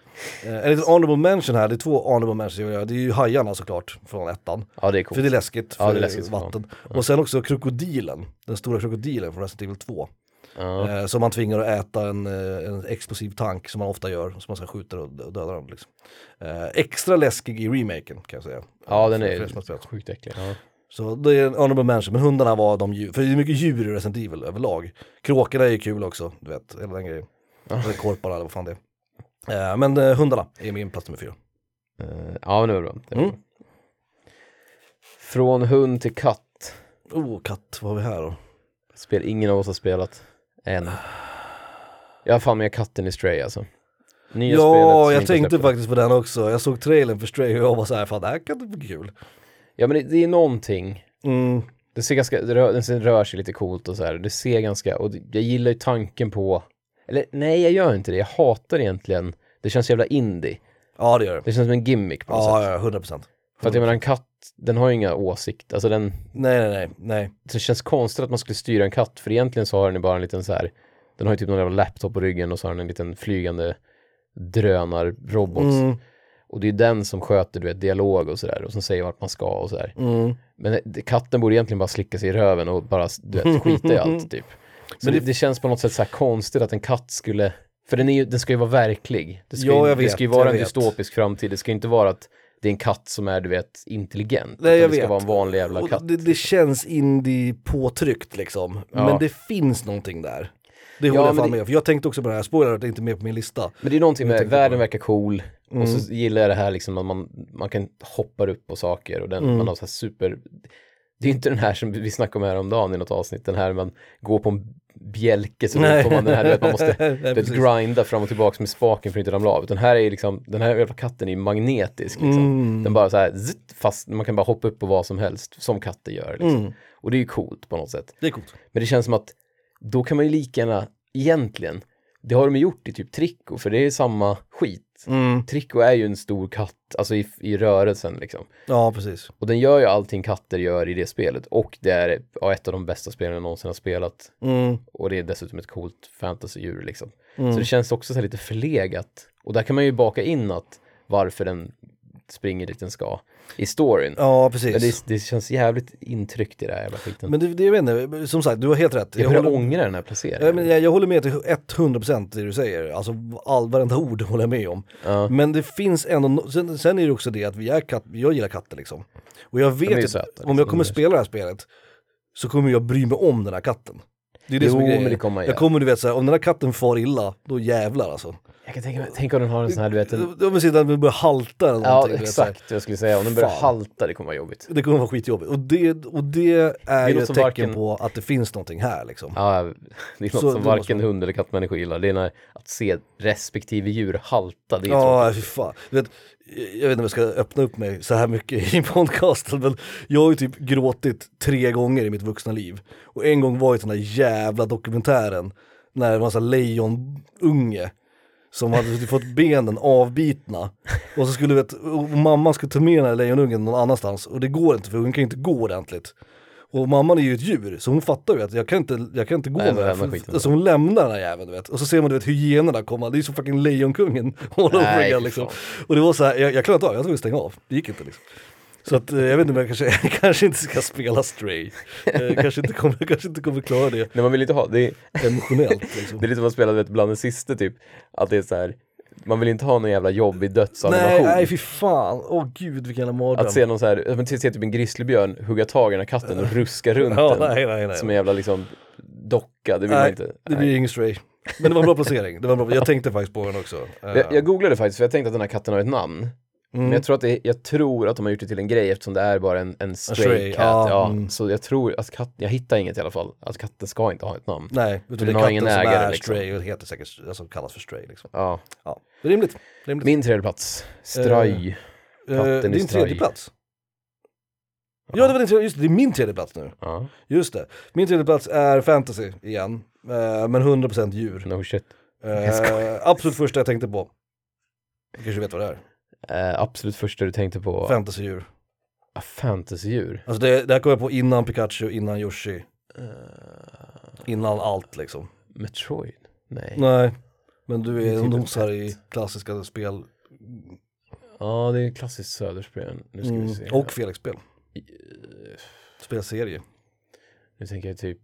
Speaker 2: Eh, en liten honorable mention här, det är två honorable mentions jag vill göra. Det är ju hajarna såklart, från ettan.
Speaker 1: Ja det är
Speaker 2: För det är
Speaker 1: coolt.
Speaker 2: läskigt, för
Speaker 1: Ja, det är läskigt som
Speaker 2: vatten. Och sen också krokodilen, den stora krokodilen från Resident Evil 2.
Speaker 1: Ja.
Speaker 2: Eh, som man tvingar att äta en, eh, en explosiv tank som man ofta gör, som man ska skjuta och dö- döda dem. Liksom. Eh, extra läskig i remaken kan jag säga.
Speaker 1: ja den
Speaker 2: För- för er
Speaker 1: är
Speaker 2: som har spelat.
Speaker 1: sjukt äcklig. Ja.
Speaker 2: Så det är en honorable mention, men hundarna var de djur, för det är mycket djur i Resident Evil överlag. Kråkorna är ju kul också, du vet, hela den grejen. Eller korparna eller vad fan det är. Eh, men eh, hundarna är min plats nummer fyra.
Speaker 1: Eh, ja men det var bra. Det var
Speaker 2: Mm.
Speaker 1: bra. Från hund till katt.
Speaker 2: Oh, katt, vad har vi här då?
Speaker 1: Ett Spel ingen av oss har spelat. Än. Jag har fan med katten i Stray alltså. Nya
Speaker 2: Ja,
Speaker 1: spelet som
Speaker 2: jag
Speaker 1: inte
Speaker 2: tänkte
Speaker 1: släpptes.
Speaker 2: faktiskt på den också. Jag såg trailern för Stray och jag var så här, fan det här kan inte bli kul.
Speaker 1: Ja men det, det är någonting.
Speaker 2: Mm.
Speaker 1: Det ser ganska, det rör, den ser- rör sig lite coolt och så här. Det ser ganska, och det, jag gillar ju tanken på, eller nej jag gör inte det, jag hatar egentligen, det känns jävla indie.
Speaker 2: Ja, det gör det.
Speaker 1: Det känns som en gimmick på något
Speaker 2: Ja,
Speaker 1: sätt.
Speaker 2: ja, 100 procent.
Speaker 1: För att jag menar en katt, den har ju inga åsikter, alltså den,
Speaker 2: Nej, nej, nej, nej.
Speaker 1: det känns konstigt att man skulle styra en katt, för egentligen så har den ju bara en liten så här, den har ju typ någon jävla laptop på ryggen och så har den en liten flygande drönarrobot.
Speaker 2: Mm,
Speaker 1: Och det är den som sköter, du vet, dialog och sådär, och som säger vart man ska och sådär.
Speaker 2: mm.
Speaker 1: Men det- katten borde egentligen bara slicka sig i röven och bara du vet, skita i allt typ. Så
Speaker 2: Men
Speaker 1: det,
Speaker 2: det-
Speaker 1: det känns på något sätt så här konstigt att en katt skulle, för den, är ju, den ska ju vara verklig. Det ska,
Speaker 2: Ja,
Speaker 1: ju,
Speaker 2: jag
Speaker 1: det
Speaker 2: vet,
Speaker 1: ska ju vara
Speaker 2: jag
Speaker 1: en
Speaker 2: vet.
Speaker 1: dystopisk framtid, det ska ju inte vara att det är en katt som är du vet intelligent.
Speaker 2: Nej,
Speaker 1: utan
Speaker 2: jag
Speaker 1: det ska
Speaker 2: vet.
Speaker 1: vara en vanlig jävla
Speaker 2: Och
Speaker 1: katt.
Speaker 2: Det, det känns indie påtryckt liksom,
Speaker 1: Ja.
Speaker 2: men det finns någonting där. Det håller jag
Speaker 1: men
Speaker 2: fan
Speaker 1: det-
Speaker 2: med om, för jag tänkte också på det här, spoiler det är inte med på min lista.
Speaker 1: Men det är någonting med,
Speaker 2: tänker på det. Mm.
Speaker 1: världen verkar cool och så gillar jag det här liksom att man, man kan hoppa upp på saker och den,
Speaker 2: Mm.
Speaker 1: man har så här super... Det är ju inte den här som vi snackade om häromdagen i något avsnitt, den här man går på en bjälke så
Speaker 2: Nej.
Speaker 1: får man den här, du vet, man måste
Speaker 2: Nej,
Speaker 1: du vet,
Speaker 2: precis.
Speaker 1: grinda fram och tillbaka med spaken för att inte ramla av. Utan här är ju liksom, den här jävla katten är ju magnetisk liksom.
Speaker 2: Mm.
Speaker 1: Den bara så här, zitt, fast man kan bara hoppa upp på vad som helst, som katter gör liksom.
Speaker 2: Mm.
Speaker 1: Och det är ju coolt på något sätt.
Speaker 2: Det är coolt.
Speaker 1: Men det känns som att då kan man ju lika gärna, egentligen, det har de ju gjort i typ Trico, för det är samma skit. Trico är ju en stor katt, alltså i, i rörelsen liksom.
Speaker 2: Ja, precis.
Speaker 1: Och den gör ju allting katter gör i det spelet. Och det är ja, ett av de bästa spelen jag någonsin har spelat.
Speaker 2: Mm.
Speaker 1: Och det är dessutom ett coolt fantasydjur liksom. Så det känns också så här lite förlegat. Och där kan man ju baka in att varför den springer dit den ska i storyn.
Speaker 2: Ja, precis.
Speaker 1: Men det, det känns jävligt intryckt i det här jävla skiten.
Speaker 2: Men det, det, jag vet inte, som sagt, du har helt rätt.
Speaker 1: jag börjar
Speaker 2: håller,
Speaker 1: ångra den här
Speaker 2: Ja, Eh, men
Speaker 1: placeringen.
Speaker 2: jag, jag håller med till 100% det du säger, alltså all, varenda ord håller jag med om.
Speaker 1: Ja,
Speaker 2: Men det finns ändå, no- sen, sen är det också det att vi är katt, jag gillar katter liksom. Och
Speaker 1: är
Speaker 2: jag
Speaker 1: ju
Speaker 2: vet
Speaker 1: söta,
Speaker 2: att
Speaker 1: liksom.
Speaker 2: om jag kommer spela det här spelet så kommer jag bry mig om den här katten. Det är det
Speaker 1: Jo,
Speaker 2: som är grejen.
Speaker 1: men det kommer man
Speaker 2: Jag
Speaker 1: göra.
Speaker 2: kommer du vet såhär, om den här katten far illa, då jävlar alltså.
Speaker 1: Jag kan tänka mig, tänk om den har en sån här, du vet, en,
Speaker 2: Om vi sitter och börjar halta eller
Speaker 1: ja
Speaker 2: någonting. du vet, så här.
Speaker 1: exakt vad jag skulle säga, om den börjar
Speaker 2: Fan.
Speaker 1: halta det kommer vara jobbigt.
Speaker 2: Det kommer vara skitjobbigt. Och det, och det är ju
Speaker 1: något
Speaker 2: ett
Speaker 1: som
Speaker 2: tecken
Speaker 1: varken-
Speaker 2: på att det finns någonting här liksom.
Speaker 1: Ja, det är något
Speaker 2: Så
Speaker 1: som
Speaker 2: det måste
Speaker 1: varken hund eller kattmänniskor gillar. Det är när, att se respektive djur halta, det är
Speaker 2: Ja,
Speaker 1: tråkigt.
Speaker 2: fy fan. Du vet, jag vet inte om jag ska öppna upp mig så här mycket i podcasten men jag har ju typ gråtit tre gånger i mitt vuxna liv. Och en gång var ju den där jävla dokumentären när det var en sån här lejonunge som hade fått benen avbitna. Och så skulle vet, och mamman skulle ta med den här lejonungen någon annanstans och det går inte för hon kan ju inte gå ordentligt. Och mamman är ju ett djur, så hon fattar ju att jag kan inte, jag kan inte gå
Speaker 1: Nej,
Speaker 2: med
Speaker 1: men
Speaker 2: den
Speaker 1: lämna
Speaker 2: här.
Speaker 1: skiten.
Speaker 2: Alltså hon lämnar den här jäveln du vet. Och så ser man du vet hyenorna komma, det är ju som fucking Lejonkungen all over
Speaker 1: Nej,
Speaker 2: again
Speaker 1: fy
Speaker 2: liksom.
Speaker 1: fan.
Speaker 2: Och det var så här, jag, jag klarade inte av, jag var tvungen att stänga av. Det gick inte liksom. Så att eh, jag vet inte, men jag kanske, jag kanske inte ska spela Stray. Eh, kanske, inte kommer, kanske inte kommer klara det
Speaker 1: Nej, man vill inte ha, det är,
Speaker 2: emotionellt liksom.
Speaker 1: det är lite som att spela vet, bland den sista typ, att det är så här, man vill inte ha någon jävla jobbig
Speaker 2: Nej,
Speaker 1: dödsanimation.
Speaker 2: nej fy fan, åh gud vilken jävla mardröm.
Speaker 1: Att se någon så här, ja, men se se typ en grizzlybjörn hugga tag i den här katten och ruska runt
Speaker 2: ja,
Speaker 1: den.
Speaker 2: nej, nej, nej.
Speaker 1: Som en jävla liksom docka, det vill man
Speaker 2: nej,
Speaker 1: inte.
Speaker 2: det
Speaker 1: Nej.
Speaker 2: blir ingen Stray. Men det var en bra placering, det var en bra, jag tänkte faktiskt på den också. Eh, Mm.
Speaker 1: Jag, jag googlade faktiskt för jag tänkte att den här katten har ett namn. Men jag tror, att det, jag tror att de har gjort det till en grej eftersom det är bara en, en stray,
Speaker 2: stray,
Speaker 1: cat.
Speaker 2: ja,
Speaker 1: Ja,
Speaker 2: mm.
Speaker 1: Så jag tror att katten, jag hittar inget i alla fall, att katten ska inte ha ett namn.
Speaker 2: Nej, utan det
Speaker 1: den
Speaker 2: är
Speaker 1: har
Speaker 2: katten
Speaker 1: ingen
Speaker 2: som
Speaker 1: ägare,
Speaker 2: är
Speaker 1: liksom.
Speaker 2: Stray och heter säkert, alltså kallas för Stray liksom.
Speaker 1: Ja.
Speaker 2: Ja, rimligt. rimligt.
Speaker 1: Min tredje plats, Straj.
Speaker 2: Eh,
Speaker 1: Katten i
Speaker 2: din
Speaker 1: Straj.
Speaker 2: tredje plats. Ja, det var din tredje, just det, det är min tredje plats nu.
Speaker 1: Ja,
Speaker 2: Just det. Min tredje plats är fantasy igen, eh, men 100% djur.
Speaker 1: no shit. Jag
Speaker 2: Eh, absolut första jag tänkte på. Du kanske vet vad det är?
Speaker 1: Eh, absolut första du tänkte på,
Speaker 2: Fantasydjur.
Speaker 1: Ah, fantasydjur.
Speaker 2: Alltså det, det här kom jag på innan Pikachu, innan Yoshi,
Speaker 1: Eh,
Speaker 2: innan allt liksom.
Speaker 1: Metroid? Nej. Ja,
Speaker 2: Nej, men du
Speaker 1: Det är
Speaker 2: är
Speaker 1: typ
Speaker 2: nosar
Speaker 1: ett-
Speaker 2: i klassiska spel
Speaker 1: det är klassiskt söderspel. Nu ska vi se. Eh,
Speaker 2: mm. och Felix-spel. Spelserie.
Speaker 1: Nu tänker jag typ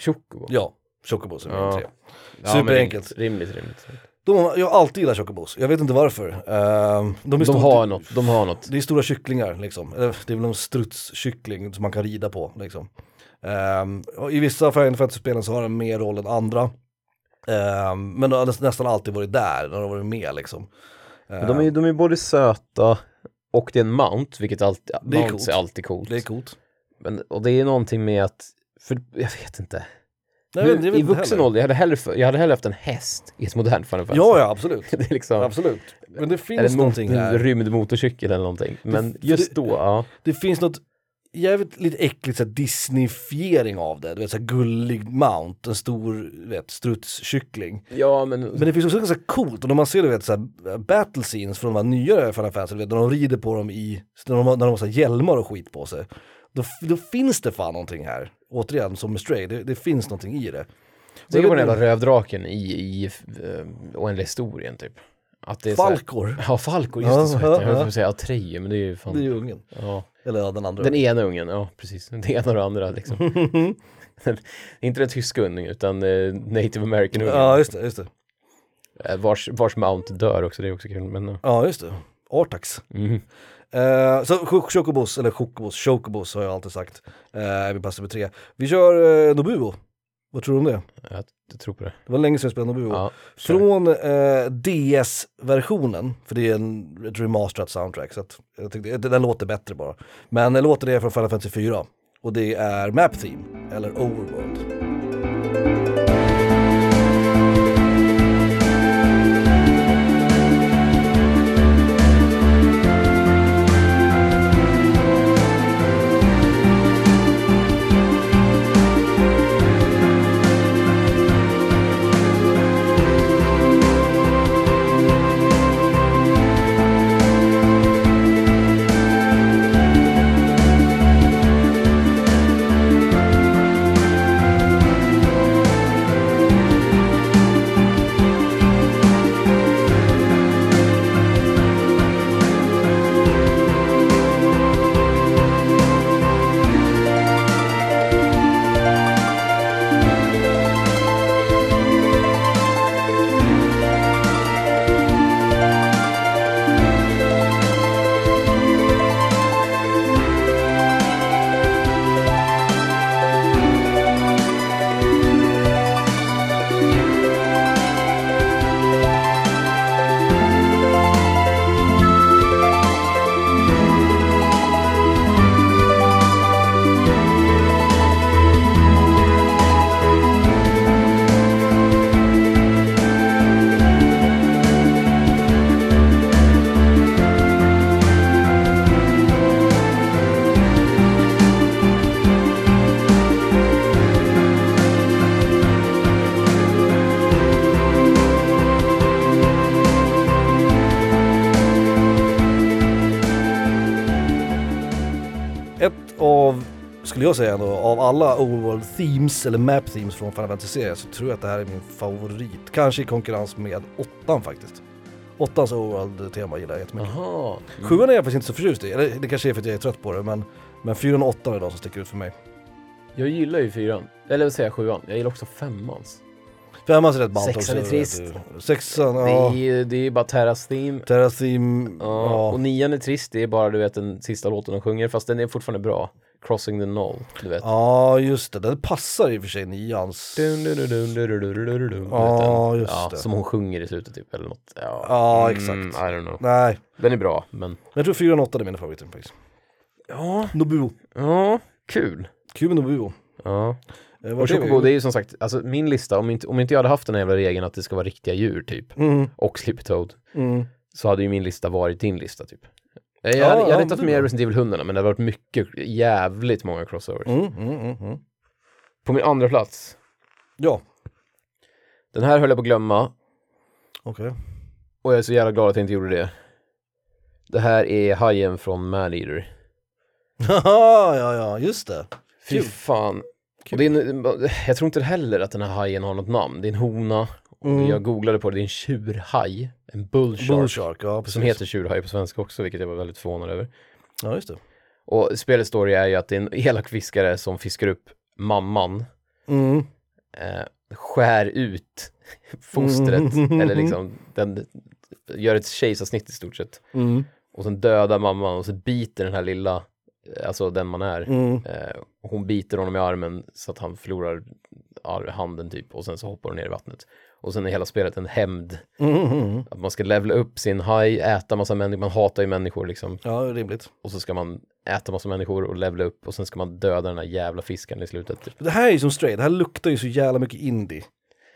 Speaker 1: Chocobo.
Speaker 2: Ja, Chocobos är min
Speaker 1: Ja.
Speaker 2: tre.
Speaker 1: Ja, men
Speaker 2: superenkelt.
Speaker 1: Rimligt, rimligt. rimligt.
Speaker 2: De, jag har alltid gillat Chocobos, jag vet inte varför. Ehm, de,
Speaker 1: De
Speaker 2: är stor-
Speaker 1: har något, de har något.
Speaker 2: Det är stora kycklingar liksom, Eller, det är väl en strutskyckling som man kan rida på liksom. Ehm, och I vissa Final Fantasy-spelen så har den mer roll än andra. Ehm, men de har näs- nästan alltid varit där, när de har varit med liksom. Ehm,
Speaker 1: De är, de är både söta och det är en mount, vilket alltid,
Speaker 2: Det är
Speaker 1: mounts
Speaker 2: coolt.
Speaker 1: är alltid coolt.
Speaker 2: Ehm, Det är coolt.
Speaker 1: Men, och det är någonting med att, för jag vet inte.
Speaker 2: Nej,
Speaker 1: Nu-
Speaker 2: men det vet
Speaker 1: I
Speaker 2: inte
Speaker 1: vuxen
Speaker 2: heller.
Speaker 1: ålder, jag hade, hellre, för- jag hade hellre haft en häst i ett modernt Final Fantasy.
Speaker 2: Ja, ja, absolut.
Speaker 1: Det är liksom,
Speaker 2: absolut. Men det
Speaker 1: är
Speaker 2: finns
Speaker 1: det
Speaker 2: någonting
Speaker 1: någon
Speaker 2: här.
Speaker 1: rymdmotorcykel eller någonting. Men
Speaker 2: för
Speaker 1: just
Speaker 2: det-
Speaker 1: då, ja.
Speaker 2: Det finns något jävligt lite äckligt så här, Disneyfiering av det. Du vet, så här, gullig Mount, en stor du vet, strutskyckling.
Speaker 1: Ja, men,
Speaker 2: Men det finns också ganska coolt, och när man ser du vet, så här, battle scenes från de här nyare Final Fantasy, du vet, när de rider på dem i, när de, har- när de har så här hjälmar och skit på sig, då, då finns det fan någonting här. Återigen, som med Stray, det, det finns någonting i det.
Speaker 1: tänk på den
Speaker 2: inte-
Speaker 1: jävla rövdraken i, i eh, Oändliga historien typ. Att det är så här-
Speaker 2: Falkor,
Speaker 1: Ja, Falco, just det, så
Speaker 2: Ja,
Speaker 1: heter han.
Speaker 2: ja,
Speaker 1: Jag
Speaker 2: ja.
Speaker 1: höll säga Atreyu, men det är ju fan...
Speaker 2: det är ju ungen.
Speaker 1: Ja.
Speaker 2: Eller ja, den andra.
Speaker 1: Den ena ungen, ja precis. Den ena och den andra liksom. Inte den tyska ungen, utan eh, native american ungen.
Speaker 2: ja, just det, just det.
Speaker 1: Eh, Vars, vars mount dör också, det är också kul. Men, ja.
Speaker 2: Ja, just det. Artax.
Speaker 1: mm.
Speaker 2: Eh, så Ch- Chocobos, eller Chocobos, Chocobos har jag alltid sagt. Eh, vi passar med tre. Vi kör eh, Nobuo. Vad tror du om det?
Speaker 1: jag, jag tror på det.
Speaker 2: Det var länge sedan jag spelade Nobuo.
Speaker 1: Ja, kör.
Speaker 2: Från eh, DS-versionen, för det är en ett remasterat soundtrack, så att jag tyckte, den den låter bättre bara. Men eh, låten är från Final Fantasy 4 och det är Map Theme, eller Overworld. skulle jag säga ändå, av alla overworld themes eller map themes från Final Fantasy-serien så tror jag att det här är min favorit. Kanske i konkurrens med åttan faktiskt. Åttans overworld-tema gillar jag jättemycket.
Speaker 1: Jaha.
Speaker 2: Sjuan är jag faktiskt inte så förtjust i, eller det kanske är för att jag är trött på det men, men fyran och åttan är de som sticker ut för mig.
Speaker 1: Jag gillar ju fyran. Eller vad säger jag, sjuan? Jag gillar också femmans.
Speaker 2: Femman är rätt ballt
Speaker 1: Sexan
Speaker 2: också.
Speaker 1: är
Speaker 2: vet
Speaker 1: trist.
Speaker 2: du. Sexan,
Speaker 1: Det
Speaker 2: ja.
Speaker 1: är, ju- det är ju bara Terras theme.
Speaker 2: Terras Theme,
Speaker 1: Ja. Och
Speaker 2: ja.
Speaker 1: nian är trist, det är bara du vet den sista låten de sjunger, fast den är fortfarande bra. Crossing the Null, du vet.
Speaker 2: Ja just det, den passar i och för sig nians.
Speaker 1: Dun, dun, dun, dun, dun, dun, dun, dun, dun, dun.
Speaker 2: Ja,
Speaker 1: Du vet den.
Speaker 2: just
Speaker 1: ja,
Speaker 2: det.
Speaker 1: Som hon sjunger i slutet typ, eller något. Ja,
Speaker 2: Ja,
Speaker 1: Mm, I
Speaker 2: exakt.
Speaker 1: don't know.
Speaker 2: Nej,
Speaker 1: Den är bra, men...
Speaker 2: men jag tror fyran och åttan är mina favoriter faktiskt.
Speaker 1: Ja,
Speaker 2: Nobuo,
Speaker 1: ja kul.
Speaker 2: kul med Nobuo.
Speaker 1: Ja.
Speaker 2: Eh,
Speaker 1: Och
Speaker 2: vart är vi?
Speaker 1: Chocobo, det är ju som sagt, alltså min lista, om inte, om inte jag hade haft den här jävla regeln att det ska vara riktiga djur typ,
Speaker 2: Mm,
Speaker 1: och Sleepy Toad,
Speaker 2: mm.
Speaker 1: så hade ju min lista varit din lista typ. Jag,
Speaker 2: Ja,
Speaker 1: hade, jag
Speaker 2: ja,
Speaker 1: hade inte haft
Speaker 2: det är
Speaker 1: med
Speaker 2: bra.
Speaker 1: Resident Evil-hundarna, men det hade varit mycket, jävligt många crossovers.
Speaker 2: Mm, mm, mm, mm.
Speaker 1: På min andra plats,
Speaker 2: Ja,
Speaker 1: den här höll jag på att glömma,
Speaker 2: okej.
Speaker 1: och jag är så jävla glad att jag inte gjorde det. Det här är hajen från Man Eater.
Speaker 2: Haha, ja, ja, just det.
Speaker 1: Fy
Speaker 2: Kul.
Speaker 1: fan.
Speaker 2: Kul.
Speaker 1: Och det är en, eh, jag tror inte heller att den här hajen har något namn. Det är en hona, och
Speaker 2: Mm.
Speaker 1: jag googlade på det, det är en tjurhaj, en bullshark.
Speaker 2: Bullshark, ja precis.
Speaker 1: Som heter Tjurhaj på svenska också, vilket jag var väldigt förvånad över.
Speaker 2: Ja, just det.
Speaker 1: Och spelets story är ju att det är en elak fiskare som fiskar upp mamman,
Speaker 2: Mm.
Speaker 1: eh, skär ut fostret,
Speaker 2: Mm.
Speaker 1: eller liksom den gör ett kejsarsnitt i stort sett.
Speaker 2: Mm.
Speaker 1: Och sen dödar mamman och så biter den här lilla, eh, alltså den man är.
Speaker 2: Mm.
Speaker 1: Eh, hon biter honom i armen så att han förlorar ar- handen typ och sen så hoppar hon ner i vattnet. Och sen är hela spelet en hämnd,
Speaker 2: Mm. Mm.
Speaker 1: att man ska levla upp sin haj, äta massa människor, man hatar ju människor liksom.
Speaker 2: Ja, det är rimligt.
Speaker 1: och så ska man äta massa människor och levla upp och sen ska man döda den här jävla fisken i slutet. Typ.
Speaker 2: Det här är ju som Stray, det här luktar ju så jävla mycket indie.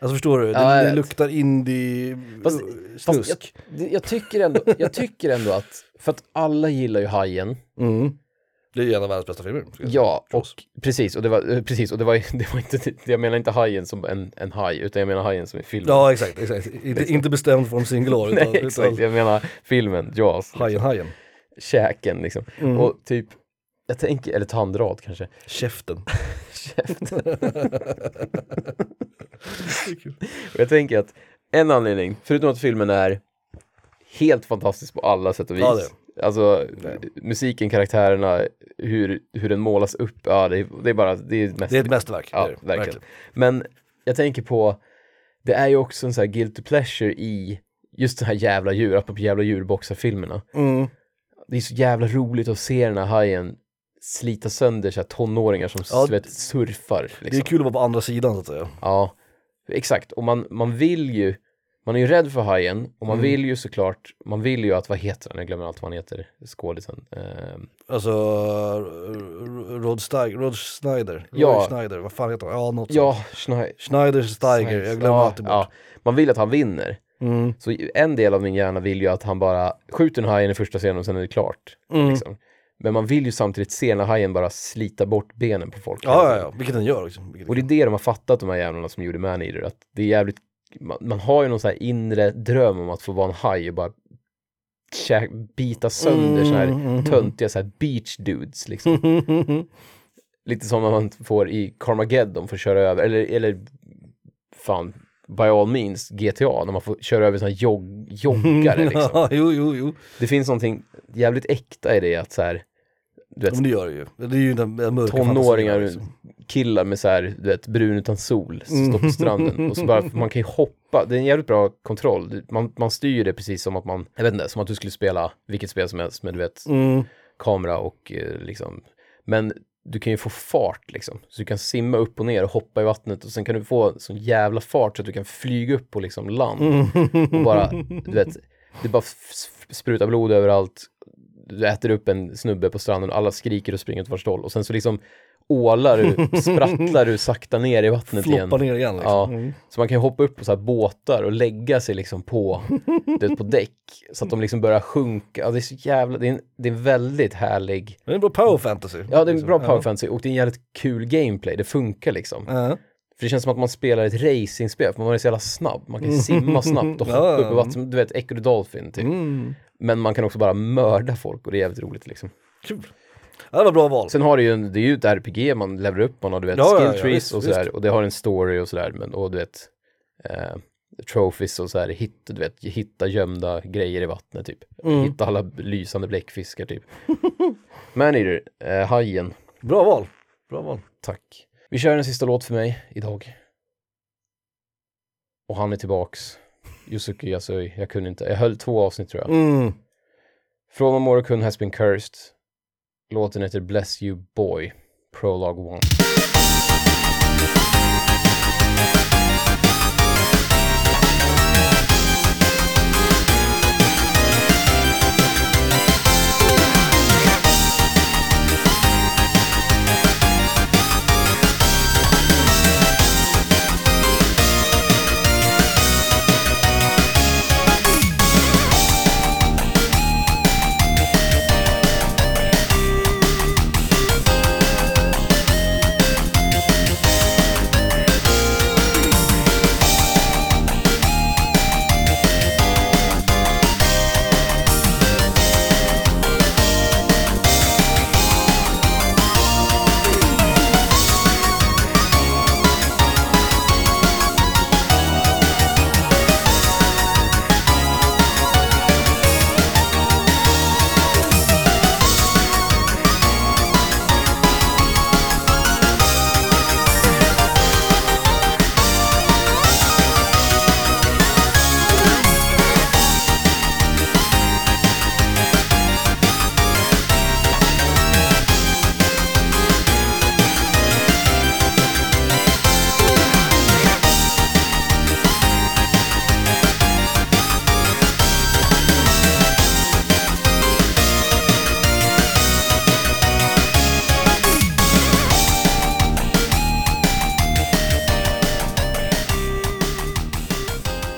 Speaker 2: Alltså förstår du? Det,
Speaker 1: Ja, jag
Speaker 2: det
Speaker 1: vet.
Speaker 2: luktar indie...
Speaker 1: Fast-
Speaker 2: snusk.
Speaker 1: jag, det- jag, tycker ändå, jag tycker ändå att, för att alla gillar ju Hajen,
Speaker 2: Mm. Det är ju en av världens bästa filmer. skulle jag säga.
Speaker 1: ja, och
Speaker 2: förstås.
Speaker 1: precis, och det var, eh, precis, och det var, det var inte, jag menar inte Hajen som en, en haj, utan jag menar Hajen som i filmen.
Speaker 2: Ja, exakt. exakt. Inte, inte bestämd från singular, utan,
Speaker 1: Nej, exakt,
Speaker 2: utan
Speaker 1: jag menar filmen, Jaws,
Speaker 2: hajen, hajen.
Speaker 1: käken liksom.
Speaker 2: Mm.
Speaker 1: Och typ, jag tänker, eller tandrad kanske,
Speaker 2: Käften.
Speaker 1: käften. Och jag tänker att en anledning, förutom att filmen är helt fantastisk på alla sätt och vis.
Speaker 2: Ja,
Speaker 1: Alltså
Speaker 2: Det.
Speaker 1: musiken, karaktärerna, hur, hur den målas upp. Ja, det, är, det är bara, det är mest.
Speaker 2: Det är ett mästerverk.
Speaker 1: ja,
Speaker 2: det är det,
Speaker 1: verkligen. Men jag tänker på, det är ju också en sån här guilty pleasure i just den här jävla djur, apropå jävla djurboxarfilmerna.
Speaker 2: Mm.
Speaker 1: Det är så jävla roligt att se den här hajen slita sönder så här tonåringar som
Speaker 2: Ja,
Speaker 1: du vet, surfar.
Speaker 2: Det är
Speaker 1: liksom.
Speaker 2: kul att vara på andra sidan så att säga.
Speaker 1: Ja, exakt. Och man, man vill ju, man är ju rädd för hajen och man
Speaker 2: Mm.
Speaker 1: vill ju såklart, man vill ju att, vad heter han, jag glömmer allt vad han heter, skådisen. Eh,
Speaker 2: Alltså, R- Rod, Steiger, Rod Schneider.
Speaker 1: Ja.
Speaker 2: Roy Schneider, vad fan heter han? Ja, något sånt.
Speaker 1: ja, Schneider.
Speaker 2: Schneider Steiger, jag glömmer
Speaker 1: ja,
Speaker 2: alltid bort.
Speaker 1: ja. Man vill att han vinner.
Speaker 2: Mm.
Speaker 1: Så en del av min hjärna vill ju att han bara skjuter den här hajen i första scenen och sen är det klart.
Speaker 2: Mm.
Speaker 1: Liksom. Men man vill ju samtidigt se den här hajen bara slita bort benen på folk.
Speaker 2: Ja, ja, ja, vilket den gör. Liksom. Vilket
Speaker 1: Och det är det de har fattat, de här jävlarna som gjorde Maneater, att det är jävligt, man, man har ju någon sån här inre dröm om att få vara en haj och bara käk, bita sönder så
Speaker 2: Mm,
Speaker 1: här töntiga så här beach dudes liksom. Lite som när man får i Carmageddon får köra över, eller, eller fan, by all means GTA, när man får köra över såna här jog, joggare liksom.
Speaker 2: Ja, jo, jo, jo.
Speaker 1: Det finns någonting jävligt äkta i det att så här, du vet,
Speaker 2: Men det gör det ju. Det är ju den den mörka
Speaker 1: tonåringar,
Speaker 2: fantasin, liksom.
Speaker 1: killar med så här, du vet, brun utan sol, som står på stranden. Och så bara, man kan ju hoppa, det är en jävligt bra kontroll. Du- Man, man styr ju det precis som att man, jag vet inte, som att du skulle spela vilket spel som helst med, du vet,
Speaker 2: Mm.
Speaker 1: kamera och eh, liksom. Men du kan ju få fart liksom, så du kan simma upp och ner och hoppa i vattnet och sen kan du få sån jävla fart så att du kan flyga upp på liksom land. Och bara, du vet, det bara f- sprutar blod överallt. Du äter upp en snubbe på stranden och alla skriker och springer åt varsitt håll. Och sen så liksom ålar du, sprattlar du sakta ner i vattnet igen.
Speaker 2: Floppar ner igen liksom.
Speaker 1: Ja, så man kan ju hoppa upp på så här båtar och lägga sig liksom på, du vet, på däck så att de liksom börjar sjunka. Ja, det är så jävla, det är en, det är en väldigt härlig,
Speaker 2: Men det är bra power fantasy.
Speaker 1: ja det är en
Speaker 2: liksom.
Speaker 1: bra power fantasy och det är en jävligt kul gameplay, det funkar liksom.
Speaker 2: Ja.
Speaker 1: För det känns som att man spelar ett racingspel, för man är så jävla snabb. Man kan simma snabbt och hoppa
Speaker 2: Mm. Ja.
Speaker 1: upp i vattnet, du vet, Echo the Dolphin typ.
Speaker 2: Mm.
Speaker 1: Men man kan också bara mörda folk och det är jävligt roligt liksom.
Speaker 2: Kul. Ja, det var bra val.
Speaker 1: Sen har det ju, en, det är ju ett RPG, man lever upp, man har du vet
Speaker 2: Ja, ja,
Speaker 1: skill
Speaker 2: ja,
Speaker 1: trees
Speaker 2: visst,
Speaker 1: och sådär. Och det har en story och sådär. Men, och du vet, eh, trophies och sådär. Hit, du vet, hitta gömda grejer i vattnet typ.
Speaker 2: Mm.
Speaker 1: Hitta alla lysande bläckfiskar typ. Maneater, eh, hajen,
Speaker 2: Bra val. Bra val.
Speaker 1: tack. Vi kör en sista låt för mig idag. Och han är tillbaks. Yusuke Yasui, jag kunde inte, jag höll två avsnitt tror jag.
Speaker 2: Mm.
Speaker 1: From Amore Kun has been cursed. Låten heter Bless You Boy, Prologue 1.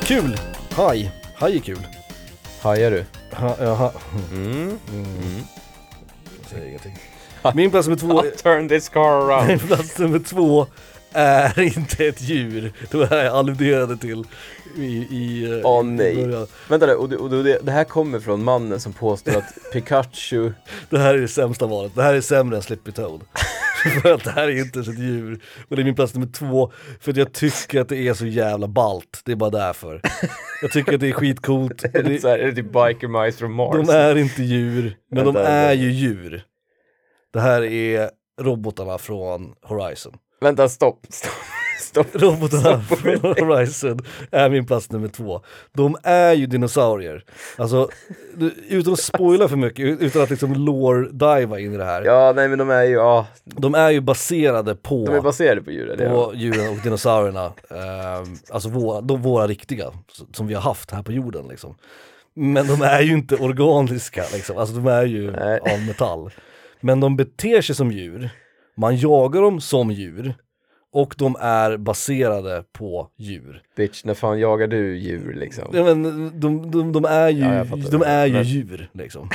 Speaker 2: Kul! Haj. Haj är kul.
Speaker 1: Hajar du?
Speaker 2: Ha, ja, ha.
Speaker 1: Mm.
Speaker 2: Jag säger ingenting. Min plats nummer två,
Speaker 1: turn this car
Speaker 2: min plats nummer två är inte ett djur. Det var det här jag alluderade till i, i eh,
Speaker 1: Åh,
Speaker 2: i
Speaker 1: nej.
Speaker 2: början.
Speaker 1: Vänta nu, och, det- och det, det här kommer från mannen som påstår att Pikachu...
Speaker 2: Det här är det sämsta valet. Det här är sämre än Slippy Toad. för att det här är inte ens ett djur. Och det är min plats nummer två. För att jag tycker att det är så jävla balt. Det är bara därför. Jag tycker att det är skitcoolt. Och det,
Speaker 1: så här, är det typ Biker Mice från Mars?
Speaker 2: De är inte djur, men de
Speaker 1: Vänta,
Speaker 2: är
Speaker 1: vänta.
Speaker 2: ju djur. Det här är robotarna från Horizon.
Speaker 1: Vänta, stopp, stopp, stopp.
Speaker 2: Robotarna från Horizon är min plats nummer två. De är ju dinosaurier. Alltså, du- utan att spoila för mycket, ut- utan att liksom lore-diva in i det här.
Speaker 1: Ja, nej men de är ju, ja,
Speaker 2: De är ju baserade på,
Speaker 1: de är baserade på djur. eller?
Speaker 2: på djuren och dinosaurierna. Ehm, alltså våra, de, våra riktiga, s- som vi har haft här på jorden liksom. Men de är ju inte organiska liksom, alltså de är ju
Speaker 1: Nej.
Speaker 2: av metall. Men de beter sig som djur, man jagar dem som djur och de är baserade på djur.
Speaker 1: Bitch, när fan jagar du djur liksom?
Speaker 2: Ja, men de, de, de är ju,
Speaker 1: Ja, jag fattar
Speaker 2: de
Speaker 1: det.
Speaker 2: är ju
Speaker 1: Men-
Speaker 2: djur liksom.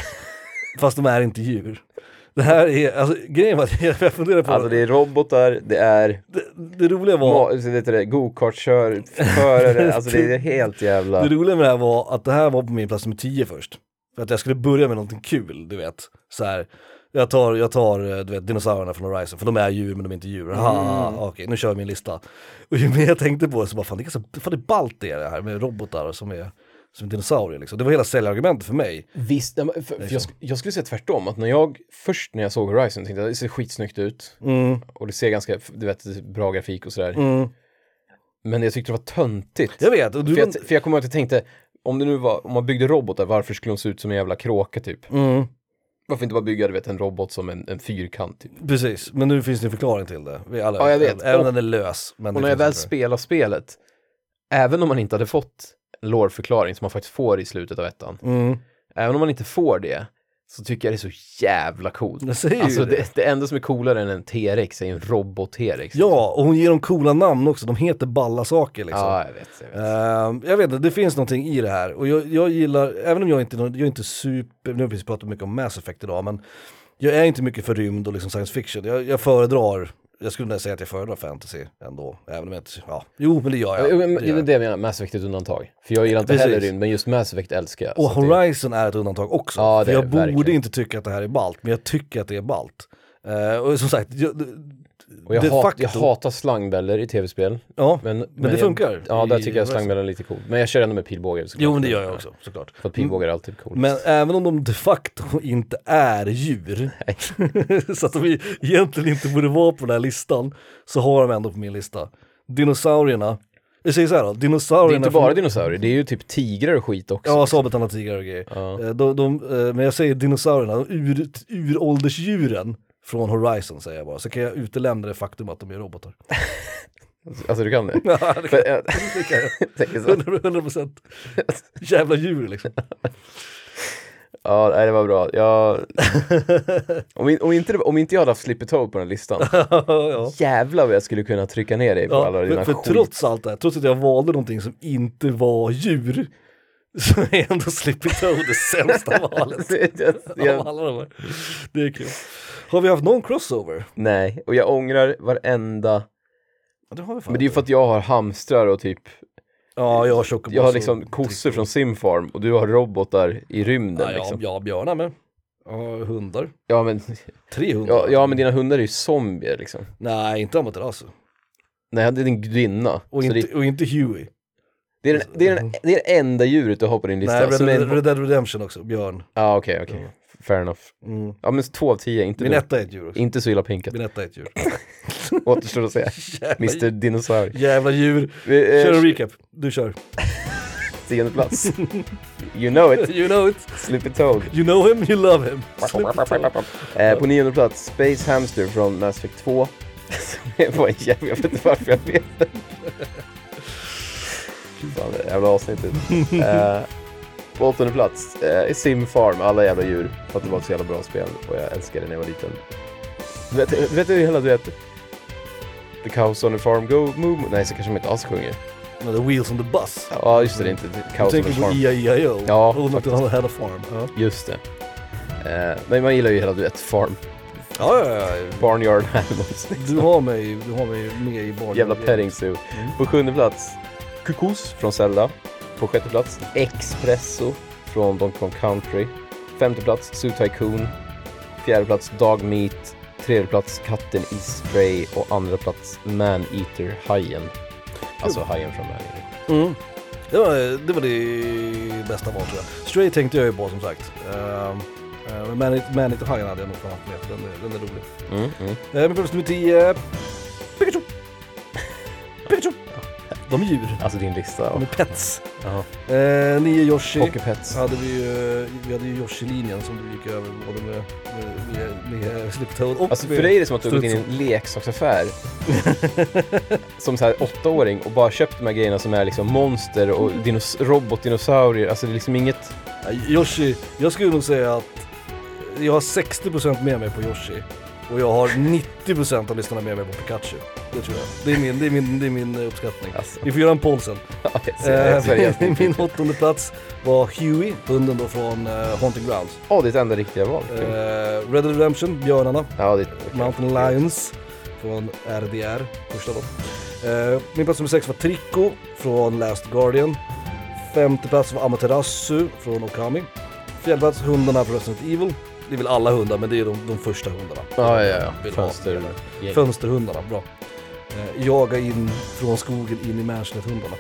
Speaker 2: Fast de är inte djur. Det här är, alltså grejen var att jag jag funderar på,
Speaker 1: Alltså det är robotar, det är
Speaker 2: det, det roliga var
Speaker 1: ma- så heter det, gokartkör- förare, alltså det är helt jävla...
Speaker 2: Det roliga med det här var att det här var på min plats nummer 10 först. För att jag skulle börja med någonting kul, du vet. Så här, jag tar, jag tar eh, du vet, dinosaurierna från Horizon, för de är djur men de är inte djur. Haha,
Speaker 1: Mm.
Speaker 2: Okej, nu kör vi min lista. Och ju mer jag tänkte på det så bara, fan det är, ganska, fan, det är ballt det är det här med robotar som är, som är dinosaurier liksom. Det var hela säljargumentet för mig.
Speaker 1: Visst, ja, men för, för jag, sk- jag skulle säga tvärtom. Att när jag, först när jag såg Horizon tänkte jag det ser skitsnyggt ut. Och det ser ganska, du vet, bra grafik och sådär. Men jag tyckte det var töntigt.
Speaker 2: Jag vet, och du,
Speaker 1: För jag, för jag kommer ihåg att jag tänkte, om det nu var, om man byggde robotar, varför skulle de se ut som en jävla kråka typ?
Speaker 2: Mm.
Speaker 1: Varför inte bara bygga, du vet, en robot som en, en fyrkant typ?
Speaker 2: precis, men nu finns det en förklaring till det. Vi alla,
Speaker 1: Ja, jag vet.
Speaker 2: Även
Speaker 1: Och-
Speaker 2: om den är lös. Men
Speaker 1: Och
Speaker 2: det
Speaker 1: när jag väl
Speaker 2: finns en förklaring.
Speaker 1: spelar spelet, även om man inte hade fått en lore-förklaring som man faktiskt får i slutet av ettan,
Speaker 2: Mm.
Speaker 1: även om man inte får det, så tycker jag det är så jävla coolt.
Speaker 2: Jag säger ju
Speaker 1: Alltså
Speaker 2: det.
Speaker 1: det, det enda som är coolare än en T-rex är ju en robot-T-rex.
Speaker 2: Ja, och hon ger dem coola namn också, de heter balla saker liksom.
Speaker 1: ja jag vet. Jag vet.
Speaker 2: Ehm, jag vet inte, det finns någonting i det här. Och jag, jag gillar, även om jag inte jag är inte super, nu har vi precis pratat mycket om Mass Effect idag, men jag är inte mycket för rymd och liksom science fiction. Jag, jag föredrar jag skulle nästan säga att jag föredrar fantasy ändå. Även om jag inte, ja. Jo men det gör
Speaker 1: Ja,
Speaker 2: jag.
Speaker 1: men
Speaker 2: Det
Speaker 1: det
Speaker 2: gör
Speaker 1: är
Speaker 2: jag.
Speaker 1: det jag menar, Mass Effect är ett undantag. För jag gillar inte
Speaker 2: Precis.
Speaker 1: heller rymd, men just Mass Effect älskar jag.
Speaker 2: Och
Speaker 1: Så att det-
Speaker 2: Horizon är ett undantag också.
Speaker 1: Ja, det
Speaker 2: för
Speaker 1: är
Speaker 2: jag
Speaker 1: det
Speaker 2: borde
Speaker 1: verkligen.
Speaker 2: inte tycka att det här är ballt, men jag tycker att det är ballt. Eh, och som sagt, jag,
Speaker 1: Och jag,
Speaker 2: de
Speaker 1: hat,
Speaker 2: facto-
Speaker 1: jag hatar slangbällor i tv-spel.
Speaker 2: ja, men,
Speaker 1: Men,
Speaker 2: det
Speaker 1: jag,
Speaker 2: funkar.
Speaker 1: Ja, där
Speaker 2: i-
Speaker 1: tycker jag slangbällor är lite cool. Men jag kör ändå med pilbågar. såklart.
Speaker 2: Jo men det gör jag också, såklart. Mm.
Speaker 1: För att pilbågar är alltid coolt.
Speaker 2: Men även om de de facto inte är djur, så att de egentligen inte borde vara på den här listan, så har de ändå på min lista. Dinosaurierna, jag säger så här då,
Speaker 1: det
Speaker 2: dinosaurierna
Speaker 1: är inte bara dinosaurier, det är ju typ tigrar och skit också.
Speaker 2: Ja, sabeltandade tigrar och grejer.
Speaker 1: Ja.
Speaker 2: Eh, De, de, eh, men jag säger dinosaurierna, de ur, uråldersdjuren från Horizon säger jag bara, så kan jag utelämna det faktum att de är robotar.
Speaker 1: Alltså du kan det.
Speaker 2: Ja, det kan
Speaker 1: För, jag,
Speaker 2: det kan jag.
Speaker 1: jag tänker så.
Speaker 2: 100%, 100% jävla djur liksom.
Speaker 1: Ja, nej, det var bra. Jag... Om, in, om, inte, det- om inte jag hade haft Slippy Toe på den listan,
Speaker 2: ja.
Speaker 1: jävlar vad jag skulle kunna trycka ner dig på
Speaker 2: Ja,
Speaker 1: alla dina
Speaker 2: för, för
Speaker 1: skit.
Speaker 2: trots allt det här, trots att jag valde någonting som inte var djur, så är ändå Slippy Toe det sämsta valet.
Speaker 1: Det- det-
Speaker 2: Av
Speaker 1: jag,
Speaker 2: alla de här. Det är kul. Har vi haft någon crossover?
Speaker 1: nej, och jag ångrar varenda...
Speaker 2: Ja, det har vi fan
Speaker 1: Men det är ju
Speaker 2: inte.
Speaker 1: för att jag har hamstrar och typ
Speaker 2: Ja, jag har tjocka
Speaker 1: Jag har liksom kossor från Simfarm och du har robotar i rymden
Speaker 2: ja,
Speaker 1: liksom.
Speaker 2: ja, ja, björnar med. Ja, hundar.
Speaker 1: Ja men,
Speaker 2: Tre hundar.
Speaker 1: ja, ja men dina hundar är ju zombier liksom.
Speaker 2: Nej, inte Amaterasu.
Speaker 1: Nej, det är en gudinna.
Speaker 2: Och,
Speaker 1: Så
Speaker 2: inte-
Speaker 1: det,
Speaker 2: och inte Huey.
Speaker 1: det, är den, det, är den, det är det enda djuret du har på din lista.
Speaker 2: Nej, Red,
Speaker 1: som är en-
Speaker 2: Red Dead Redemption också, björn.
Speaker 1: Ja okej, okej. Fair enough.
Speaker 2: Mm.
Speaker 1: Ja men två av tio, inte,
Speaker 2: Min
Speaker 1: dumt.
Speaker 2: etta är ett djur också.
Speaker 1: inte så illa pinkat.
Speaker 2: Min etta är ett djur.
Speaker 1: Återstår att säga.
Speaker 2: Jävla,
Speaker 1: Mr Dinosaurie.
Speaker 2: jävla djur.
Speaker 1: Eh,
Speaker 2: Kör en
Speaker 1: eh,
Speaker 2: recap. Du kör.
Speaker 1: Tionde plats. You know it,
Speaker 2: You know it.
Speaker 1: Slippy Toad.
Speaker 2: You know him, you love him.
Speaker 1: Eh, på nionde plats, Space Hamster från Mass Effect 2. Som är bara en jävla, jag vet inte varför jag vet det. Fan, det jävla avsnittet. Eh, på åttonde plats, eh, Sim Farm, alla jävla djur. För att det var ett så jävla bra spel och jag älskade det när jag var liten. Du Vet du vet du hur hela du vet? The cows on the farm go move. Nej, så kanske de inte alls sjunger.
Speaker 2: No, the wheels on the bus.
Speaker 1: Ja, just det, det är inte
Speaker 2: Du
Speaker 1: cows on the
Speaker 2: tänker på E
Speaker 1: farm.
Speaker 2: EIEIO.
Speaker 1: Ja,
Speaker 2: och något
Speaker 1: faktiskt.
Speaker 2: annat had a farm. Ja,
Speaker 1: Just det. Eh, men man gillar ju hela duett Farm.
Speaker 2: ja, ja. ja.
Speaker 1: Barnyard Animals.
Speaker 2: Du har mig, du har mig med i barn.
Speaker 1: Jävla petting zoo.
Speaker 2: Mm.
Speaker 1: På sjunde plats, Kukos från Zelda. På sjätte plats, Expresso från Donkey Kong Country. Femte plats, Zoo Tycoon. Fjärde plats, Dog Meat. Tredje plats, Katten i Stray. Och andra plats, Man Eater Hajen. Alltså hajen från Man Eater.
Speaker 2: Mm. Det, var, det var det bästa val tror jag. Stray tänkte jag ju på som sagt. Ehm, eh, Men Man Eat- Man Eater Hajen hade jag nog fan haft med, för den är, den är rolig.
Speaker 1: Mm, mm.
Speaker 2: Eh, Men plats nummer 10, Pikachu! Pikachu! De är djur,
Speaker 1: Alltså din lista.
Speaker 2: de
Speaker 1: Och,
Speaker 2: är pets.
Speaker 1: ja.
Speaker 2: Eh, Nio Yoshi.
Speaker 1: Pocket Pets.
Speaker 2: Hade vi, ju, vi hade ju Yoshi-linjen som du gick över både med, med, med, med Sliptoad och
Speaker 1: Alltså
Speaker 2: med...
Speaker 1: för dig är det som att du har gått in i en leksaksaffär som så här åttaåring och bara köpt de här grejerna som är liksom monster och dinos- robotdinosaurier. Alltså det är liksom inget...
Speaker 2: Ja, Yoshi, jag skulle nog säga att jag har 60% med mig på Yoshi och jag har 90% av lyssnarna med mig på Pikachu. Det tror jag. Det är min, det är min, det är min eh, uppskattning.
Speaker 1: Alltså,
Speaker 2: Vi får göra en poll sen.
Speaker 1: ja, jag ser- jag
Speaker 2: Eh,
Speaker 1: ser helt
Speaker 2: min
Speaker 1: enkelt.
Speaker 2: åttonde plats var Huey, hunden då från eh, Haunting Grounds.
Speaker 1: Åh, det är ett enda riktiga val.
Speaker 2: Eh, Red Dead Redemption, Björnarna,
Speaker 1: Ja, det är... okej.
Speaker 2: Mountain Lions från RDR, första då. Eh, min plats nummer sex var Trico från Last Guardian. Femte plats var Amaterasu från Okami. Fjärde plats hundarna från Resident Evil. Det är väl alla hundar, men det är de, de första hundarna.
Speaker 1: Ja, ja, ja.
Speaker 2: Vill ha.
Speaker 1: Fönster.
Speaker 2: Fönsterhundarna, bra. Eh, jaga in från skogen in i mansionet-hundarna.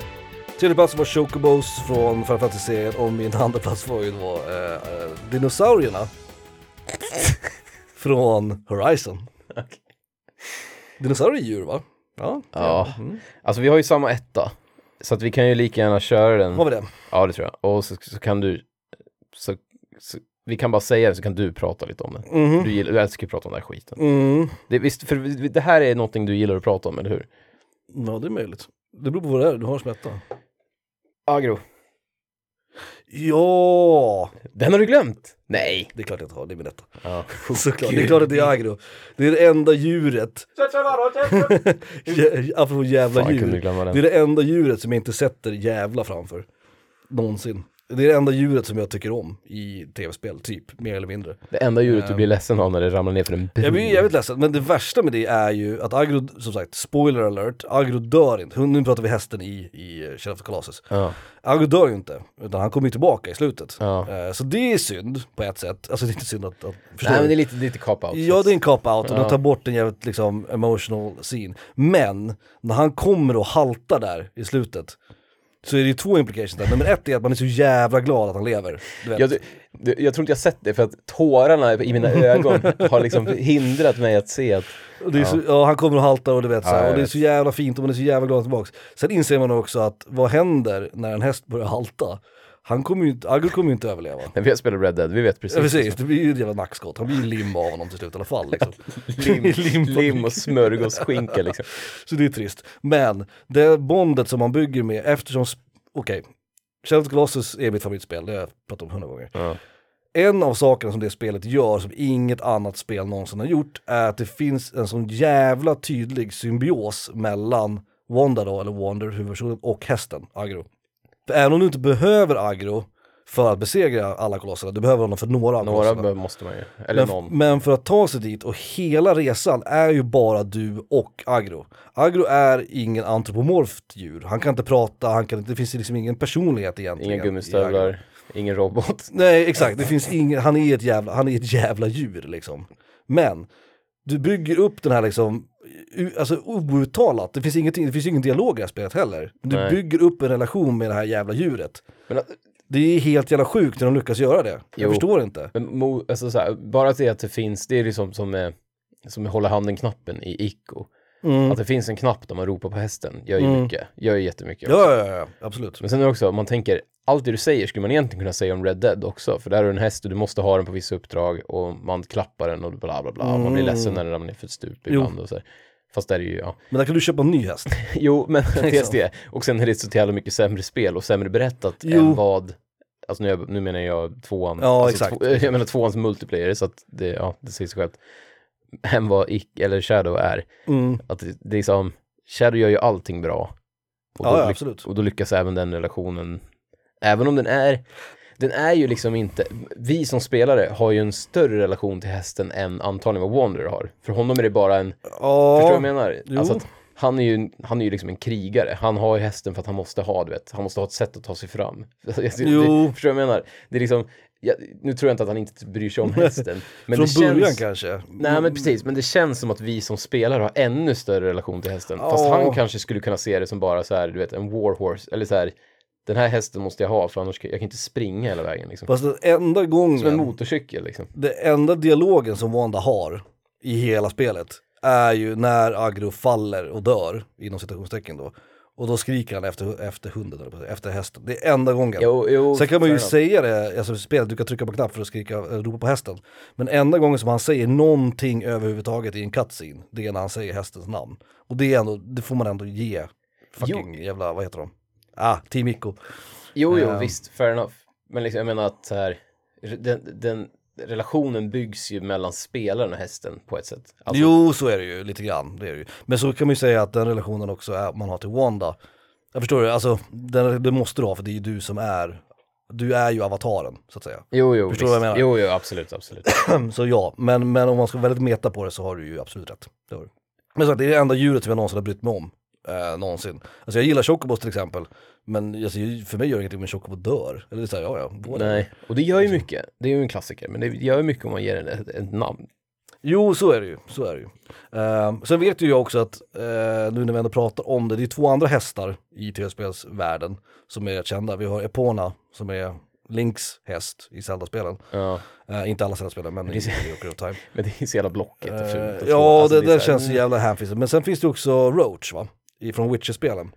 Speaker 2: Tredje plats var Chocobos från Final Fantasy-serien och min andra plats var ju då eh, eh, dinosaurierna. från Horizon.
Speaker 1: Okej.
Speaker 2: Dinosaurier är djur va? Ja.
Speaker 1: Ja.
Speaker 2: Mm.
Speaker 1: Alltså vi har ju samma etta. Så att vi kan ju lika gärna köra
Speaker 2: Har
Speaker 1: den.
Speaker 2: vi det?
Speaker 1: Ja, det tror jag. Och så, så kan du... Så, så, vi kan bara säga det så kan du prata lite om det.
Speaker 2: Mhm.
Speaker 1: Du, gillar, du älskar ju att prata om den här skiten.
Speaker 2: Mm.
Speaker 1: Det, visst, för vi- det här är någonting du gillar att prata om, eller hur?
Speaker 2: Ja, det är möjligt. Det beror på vad det är du har smätta.
Speaker 1: Agro.
Speaker 2: Ja,
Speaker 1: Den har du glömt? Nej.
Speaker 2: det är klart jag inte har, det är min etta.
Speaker 1: Ja.
Speaker 2: Såklart, det är klart att det är agro. Det är det enda djuret, jä- apropå jävla
Speaker 1: Fan, jag kunde
Speaker 2: djur,
Speaker 1: glömma
Speaker 2: det är
Speaker 1: den.
Speaker 2: det enda djuret som jag inte sätter jävla framför. Någonsin. Det är det enda djuret som jag tycker om i tv-spel, typ, mer eller mindre.
Speaker 1: Det enda djuret du
Speaker 2: Ehm.
Speaker 1: blir ledsen av när det ramlar ner för en bro.
Speaker 2: Jag blir jävligt ledsen, men det värsta med det är ju att Agro, som sagt, spoiler alert, Agro dör inte. Hon- Nu pratar vi hästen i, i eh, Shadow of the Colossus.
Speaker 1: Ja.
Speaker 2: Agro dör ju inte, utan han kommer ju tillbaka i slutet.
Speaker 1: Ja.
Speaker 2: Eh, Så det är synd på ett sätt, alltså det är inte synd att, att förstå
Speaker 1: Nej men det är lite, lite cop-out.
Speaker 2: Ja det är en cop-out och
Speaker 1: Ja.
Speaker 2: de tar bort en jävligt liksom emotional scene. Men när han kommer och haltar där i slutet så är det ju två implications där. Nummer ett är att man är så jävla glad att han lever. Du vet.
Speaker 1: jag, du- du- jag tror inte jag sett det för att tårarna i mina ögon har liksom hindrat mig att se att
Speaker 2: Och det är så, ja, han kommer och haltar och du vet så
Speaker 1: Ja,
Speaker 2: här,
Speaker 1: jag
Speaker 2: och det är
Speaker 1: vet.
Speaker 2: så jävla fint och man är så jävla glad tillbaks. Sen inser man också att vad händer när en häst börjar halta? Han kommer ju inte, Agro kommer ju inte överleva.
Speaker 1: när vi har spelat Red Dead, vi vet
Speaker 2: Ja,
Speaker 1: precis.
Speaker 2: precis, det blir ju ett jävla nackskott. Han blir ju lim av honom till slut i alla fall. Liksom.
Speaker 1: Lim,
Speaker 2: Lim på
Speaker 1: lim och smörgåsskinka liksom.
Speaker 2: Så det är trist. Men det bondet som man bygger med eftersom, sp- okej, Shadow of the Colossus är mitt favoritspel, det har jag pratat om hundra gånger.
Speaker 1: Ja.
Speaker 2: En av sakerna som det spelet gör som inget annat spel någonsin har gjort är att det finns en sån jävla tydlig symbios mellan Wanda då, eller Wander, huvudpersonen, och hästen, Agro. För även om du inte behöver Agro för att besegra alla kolosserna, du behöver honom för några av
Speaker 1: Några
Speaker 2: kolosserna.
Speaker 1: bör- måste man ju, eller
Speaker 2: Men,
Speaker 1: någon.
Speaker 2: men för att ta sig dit och hela resan är ju bara du och Agro. Agro är ingen antropomorft djur. Han kan inte prata, han kan inte, det finns liksom ingen personlighet egentligen.
Speaker 1: Inga
Speaker 2: i Agro.
Speaker 1: gummistövlar, ingen robot.
Speaker 2: Nej exakt, det finns ingen, han, är ett jävla, han är ett jävla djur liksom. Men du bygger upp den här liksom, u- alltså outtalat, det finns, ingenting, det finns ingen dialog i det här spelet heller. Du
Speaker 1: Nej.
Speaker 2: bygger upp en relation med det här jävla djuret.
Speaker 1: Men, att-
Speaker 2: Det är helt jävla sjukt när de lyckas göra det. Jag
Speaker 1: Jo.
Speaker 2: förstår inte.
Speaker 1: men mo, alltså så här, bara att det att det finns, det är liksom som, eh, som hålla handen-knappen i Ico. Att det finns en knapp där man ropar på hästen gör ju mycket, gör ju jättemycket.
Speaker 2: Ja, ja, ja, ja, absolut.
Speaker 1: Men sen är det också, om man tänker, allt det du säger skulle man egentligen kunna säga om Red Dead också, för där har du en häst och du måste ha den på vissa uppdrag och man klappar den och bla bla bla, man blir ledsen när den ramlar ner för ett stup ibland och så här. Fast där är ju, ja.
Speaker 2: Men där kan du köpa en ny häst.
Speaker 1: Jo, men dels det. Och sen är det så jävla mycket sämre spel och sämre berättat
Speaker 2: Liksom. Jo.
Speaker 1: än vad, alltså nu, är jag- nu menar jag tvåan,
Speaker 2: Ja,
Speaker 1: alltså
Speaker 2: exakt.
Speaker 1: Två, jag menar tvåans multiplayer, så att det, ja, det säger sig självt. Än vad Ick, eller Shadow är. Att det, det är liksom, Shadow gör ju allting bra. Och
Speaker 2: Ja,
Speaker 1: då
Speaker 2: ja,
Speaker 1: lyck-
Speaker 2: absolut.
Speaker 1: Och då lyckas även den relationen, även om den är, den är ju liksom inte, vi som spelare har ju en större relation till hästen än antagligen vad Wander har. För honom är det bara en, Förstår
Speaker 2: Ja,
Speaker 1: du vad jag menar?
Speaker 2: Jo.
Speaker 1: Alltså att han är, ju, han är ju liksom en krigare. Han har ju hästen för att han måste ha, du vet, han måste ha ett sätt att ta sig fram. Alltså, jag-
Speaker 2: Jo.
Speaker 1: Det, förstår du vad jag menar? Det är liksom, jag, nu tror jag inte att han inte bryr sig om hästen. Men
Speaker 2: från
Speaker 1: det
Speaker 2: början
Speaker 1: känns,
Speaker 2: kanske.
Speaker 1: Nej men precis, men det känns som att vi som spelare har ännu större relation till hästen. Fast
Speaker 2: Ja.
Speaker 1: han kanske skulle kunna se det som bara så här, du vet, en warhorse. Eller så här, den här hästen måste jag ha för annars kan jag kan inte springa hela vägen. Liksom.
Speaker 2: Fast den enda
Speaker 1: Som en
Speaker 2: gången,
Speaker 1: motorcykel liksom.
Speaker 2: den enda dialogen som Wanda har i hela spelet är ju när Agro faller och dör, inom citationstecken då. Och då skriker han efter, efter hunden, eller på- efter hästen. Det är enda gången.
Speaker 1: Jo, jo,
Speaker 2: Sen kan man ju
Speaker 1: fair enough.
Speaker 2: säga det, alltså i spelet, du kan trycka på knapp för att skrika, eh, ropa på hästen. Men enda gången som han säger någonting överhuvudtaget i en cutscene, det är när han säger hästens namn. Och det är ändå, det får man ändå ge fucking jävla, vad heter de? Ah, Team Ico.
Speaker 1: Jo, jo,
Speaker 2: Ehm.
Speaker 1: visst, fair enough. Men liksom, jag menar att så här, re- den, den relationen byggs ju mellan spelaren och hästen på ett sätt. Alltså,
Speaker 2: Jo, så är det ju lite grann. Det är det ju. Men så kan man ju säga att den relationen också är, man har till Wanda. Jag förstår det, alltså den, det måste du ha för det är ju du som är, du är ju avataren så att säga.
Speaker 1: jo, jo,
Speaker 2: Förstår du vad jag
Speaker 1: Jo, jo, absolut, absolut.
Speaker 2: Så ja, men, men om man ska vara väldigt meta på det så har du ju absolut rätt. Det har du. Men så att det är det enda djuret som jag någonsin har brytt mig om. Eh, någonsin. Alltså jag gillar Chocobos till exempel, men alltså, för mig gör det ingenting om en Chocobo dör. Eller så här, ja ja. whatever.
Speaker 1: Nej, och det
Speaker 2: Liksom.
Speaker 1: gör ju mycket. Det är ju en klassiker, men det gör ju mycket om man ger den ett, ett namn.
Speaker 2: Jo, så är det ju. Så är det ju. Ehm, sen vet ju jag också att, eh, nu när vi ändå pratar om det, det är två andra hästar i tv-spelsvärlden som är rätt kända. Vi har Epona som är Links häst i Zelda-spelen.
Speaker 1: Ja.
Speaker 2: Eh, inte alla Zelda-spelen, men i
Speaker 1: Det är-
Speaker 2: i Ocarina of Time.
Speaker 1: Men det är så jävla blockigt och
Speaker 2: Eh,
Speaker 1: fult. och så.
Speaker 2: ja,
Speaker 1: Alltså,
Speaker 2: det, där
Speaker 1: så här-
Speaker 2: känns så jävla hänfisigt. Men sen finns det också Roach, va? Från Witcher-spelen,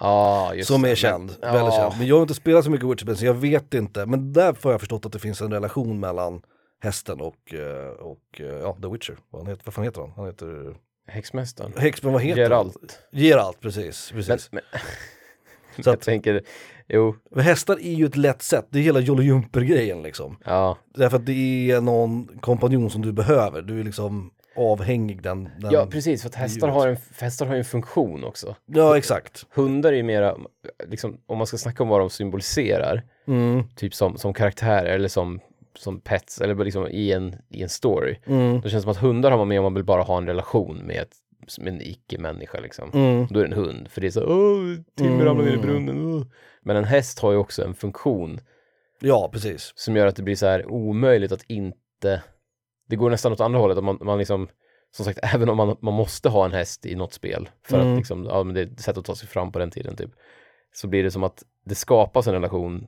Speaker 1: Ja, just
Speaker 2: som
Speaker 1: det.
Speaker 2: är
Speaker 1: Men-
Speaker 2: känd,
Speaker 1: Ja.
Speaker 2: väldigt känd. Men jag har inte spelat så mycket Witcher-spel så jag vet inte. Men där har jag förstått att det finns en relation mellan hästen och, eh, och eh, ja, The Witcher. Vad, han heter, vad fan heter han? Han heter...
Speaker 1: Häxmästaren.
Speaker 2: Häxman, vad heter
Speaker 1: Geralt.
Speaker 2: han? Geralt, precis.
Speaker 1: Men,
Speaker 2: precis.
Speaker 1: men,
Speaker 2: Så
Speaker 1: jag
Speaker 2: att,
Speaker 1: tänker, jo,
Speaker 2: hästar är ju ett lätt sätt, det är hela Jolly Jumper-grejen liksom.
Speaker 1: ja.
Speaker 2: Därför att det är någon kompanjon som du behöver, du är liksom avhängig den. den
Speaker 1: Ja, precis, för att hästar
Speaker 2: djuret.
Speaker 1: har, en, för hästar har ju en funktion också.
Speaker 2: ja exakt.
Speaker 1: Hundar är ju mera, liksom, om man ska snacka om vad de symboliserar,
Speaker 2: Mm,
Speaker 1: typ som, som karaktärer eller som, som pets, eller bara liksom i en, i en story.
Speaker 2: mm,
Speaker 1: Det känns som att hundar har man med om man vill bara ha en relation med, ett, med en icke-människa liksom.
Speaker 2: mm.
Speaker 1: Då är det en hund, för det är så åh, Timmy ramlade ner i
Speaker 2: Mm.
Speaker 1: brunnen. åh." Men en häst har ju också en funktion
Speaker 2: Ja, precis.
Speaker 1: som gör att det blir så här omöjligt att inte, det går nästan åt andra hållet, att man, man liksom, som sagt, även om man, man måste ha en häst i något spel, för
Speaker 2: Mm.
Speaker 1: att liksom, ja men det är ett sätt att ta sig fram på den tiden typ, så blir det som att det skapas en relation,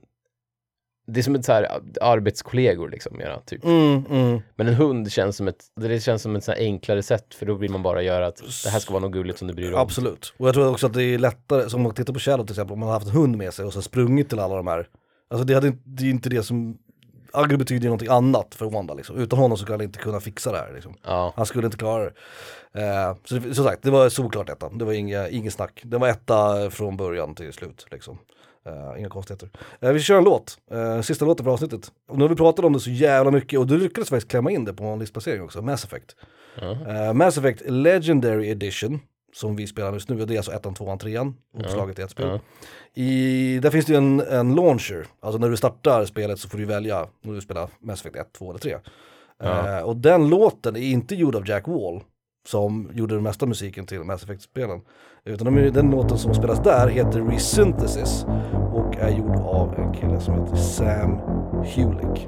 Speaker 1: det är som ett så här arbetskollegor liksom, mera, typ.
Speaker 2: Mm, mm.
Speaker 1: Men en hund känns som ett, det känns som ett så här enklare sätt, för då vill man bara göra att det här ska vara något gulligt som du bryr dig om.
Speaker 2: Absolut. Och jag tror också att det är lättare, som om man tittar på Shadow till exempel, om man har haft en hund med sig och sen sprungit till alla de här. Alltså det, hade, inte- det är inte det som, Agri betyder ju någonting annat för Wanda liksom. Utan honom så skulle han inte kunna fixa det här liksom.
Speaker 1: Ja,
Speaker 2: Han skulle inte klara det. Eh, så det- som sagt, det var solklart etta. Det var inga, ingen snack. Det var etta från början till slut. Liksom. Eh, inga konstigheter. Eh, vi kör en låt. Eh, sista låten för avsnittet. Och nu har vi pratat om det så jävla mycket och du lyckades faktiskt klämma in det på en listplacering också, Mass Effect. Eh, Mass Effect Legendary Edition, som vi spelar just nu, och det är alltså ettan, tvåan, trean, uppslaget i ett spel.
Speaker 1: Ja.
Speaker 2: I, där finns det ju en, en launcher, alltså när du startar spelet så får du välja om du spelar Mass Effect 1, 2 eller 3.
Speaker 1: Ja.
Speaker 2: Eh, och den låten är inte gjord av Jack Wall, som gjorde den mesta musiken till Mass Effect-spelen. Utan de, är- den låten som spelas där heter Resynthesis och är gjord av en kille som heter Sam Hulick.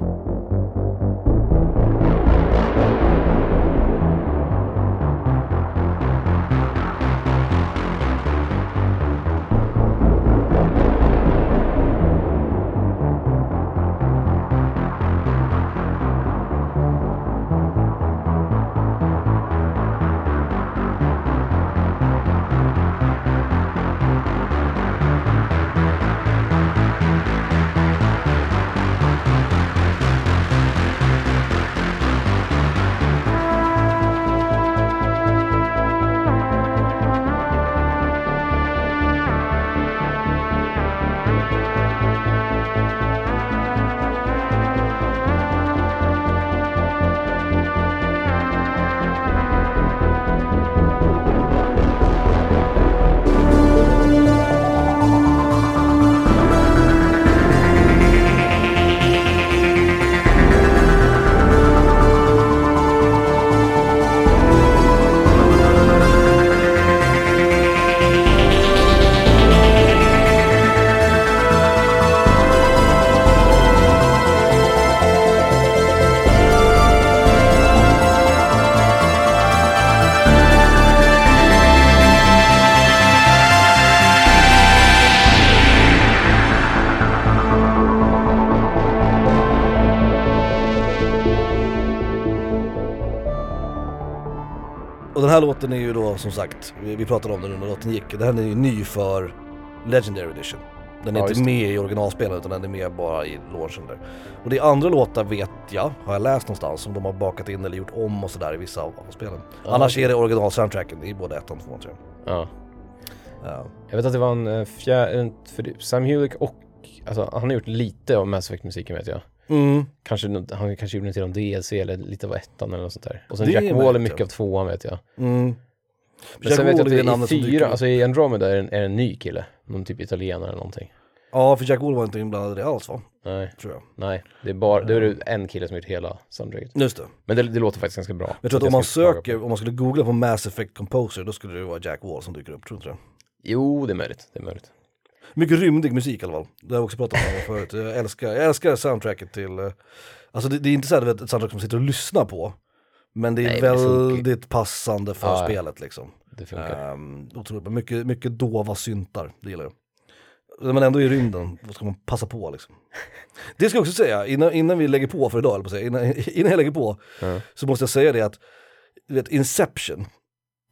Speaker 2: Och den här låten är ju då som sagt, vi vi pratade om den under låten gick, den här är ju ny för Legendary Edition. Den är
Speaker 1: Ja,
Speaker 2: inte
Speaker 1: just det.
Speaker 2: med i originalspelen utan den är med bara i launchen där. Och det är andra låtar vet jag, har jag läst någonstans, som de har bakat in eller gjort om och sådär i vissa av av spelen.
Speaker 1: Ja,
Speaker 2: Annars
Speaker 1: okej.
Speaker 2: är det original-soundtracken i både ettan, tvåan och trean.
Speaker 1: ja.
Speaker 2: Ja.
Speaker 1: Jag vet att det var en eh, fjär, en, för det- Sam Hulick och, alltså han har gjort lite av Mass Effect-musiken vet jag.
Speaker 2: Mm.
Speaker 1: Kanske, nå- han kanske gjorde till om DLC eller lite av ettan eller något sånt där. Och sen
Speaker 2: Det
Speaker 1: Jack
Speaker 2: vet
Speaker 1: Wall är
Speaker 2: jag.
Speaker 1: mycket av tvåan vet jag.
Speaker 2: Mm.
Speaker 1: Men
Speaker 2: Jack
Speaker 1: sen vet jag
Speaker 2: Wall är det
Speaker 1: att
Speaker 2: namnet
Speaker 1: det
Speaker 2: som
Speaker 1: i
Speaker 2: dyker
Speaker 1: fyra,
Speaker 2: upp.
Speaker 1: alltså i Andromeda är det en, är det en ny kille. Någon typ italienare eller någonting.
Speaker 2: Ja, för Jack Wall var inte inblandad i det alls va?
Speaker 1: Nej,
Speaker 2: Tror jag.
Speaker 1: nej. Det är bara, det är det en kille som har gjort hela soundtracket.
Speaker 2: Just det.
Speaker 1: Men det, det låter faktiskt ganska bra.
Speaker 2: Jag tror att
Speaker 1: Det
Speaker 2: om man
Speaker 1: ska jag klaga på.
Speaker 2: söker, om man skulle googla på Mass Effect Composer, då skulle det vara Jack Wall som dyker upp, tror du inte det?
Speaker 1: Jo, det är möjligt. Det är möjligt.
Speaker 2: Mycket rymdig musik i alla fall. Det har jag också pratat om förut. Jag älskar, jag älskar soundtracket till, eh, alltså det, det är inte så här, du vet, ett soundtrack som man sitter och lyssnar på. Men det är
Speaker 1: Nej, men det funkar ju.
Speaker 2: väldigt passande för
Speaker 1: Ja, ja.
Speaker 2: spelet liksom.
Speaker 1: Det funkar.
Speaker 2: Ehm, otroligt, Men mycket, mycket dova syntar, det gillar jag. När man ändå är i rymden, då ska man passa på liksom. Det ska jag också säga, innan, innan vi lägger på för idag, eller på att säga, innan, innan jag lägger på,
Speaker 1: Ja.
Speaker 2: så måste jag säga det att, du vet Inception,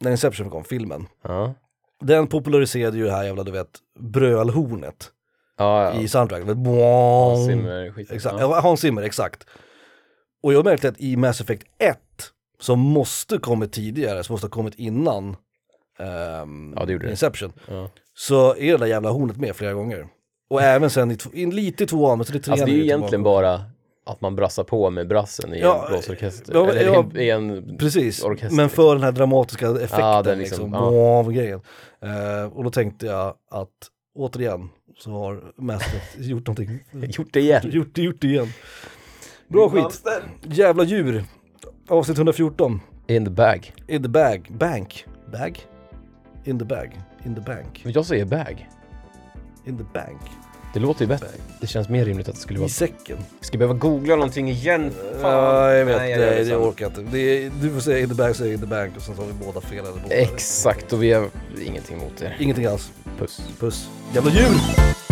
Speaker 2: när Inception kom, filmen,
Speaker 1: Ja.
Speaker 2: den populariserade ju det här jävla, du vet, brölhornet
Speaker 1: Ja, ja.
Speaker 2: i soundtracket. Med Hans
Speaker 1: Simmer-skiten.
Speaker 2: Exakt.
Speaker 1: Ja.
Speaker 2: Ja, Hans Zimmer, exakt. Och jag märkte att i Mass Effect 1, som måste kommit tidigare, som måste ha kommit innan ehm,
Speaker 1: Ja, det gjorde det.
Speaker 2: Inception,
Speaker 1: Ja.
Speaker 2: så är det där jävla hornet med flera gånger. Och även sen, i, tv- in, lite i tvåan, men så det är trean
Speaker 1: Alltså det är ju egentligen bara att man brassar på med brassen i
Speaker 2: Ja,
Speaker 1: en blåsorkester.
Speaker 2: ja,
Speaker 1: Eller
Speaker 2: ja,
Speaker 1: i, i en...
Speaker 2: Precis,
Speaker 1: orkester,
Speaker 2: men
Speaker 1: liksom.
Speaker 2: för den här dramatiska effekten.
Speaker 1: Ja, den liksom,
Speaker 2: liksom,
Speaker 1: ja.
Speaker 2: wow, grejen. Eh, och då tänkte jag att återigen så har mästret gjort någonting.
Speaker 1: Gjort det igen.
Speaker 2: gjort det, gjort det igen. Bra skit. Jävla djur. Avsnitt 114.
Speaker 1: In the bag.
Speaker 2: In the bag. Bank. Bag? In the bag. In the bank.
Speaker 1: Men jag säger bag.
Speaker 2: In the bank.
Speaker 1: Det låter ju bättre. Det känns mer rimligt att det skulle
Speaker 2: I
Speaker 1: vara...
Speaker 2: säcken.
Speaker 1: Ska jag behöva googla någonting igen?
Speaker 2: Ja, jag vet,
Speaker 1: Nej, jag gör
Speaker 2: det, det
Speaker 1: detsamma.
Speaker 2: orkar jag inte. Det är, du får säga in the bag, säger in the bank och sen tar vi båda fel eller båda. rätt.
Speaker 1: Exakt, och vi har ingenting emot det.
Speaker 2: Ingenting alls.
Speaker 1: Puss.
Speaker 2: Puss. Jävla djur!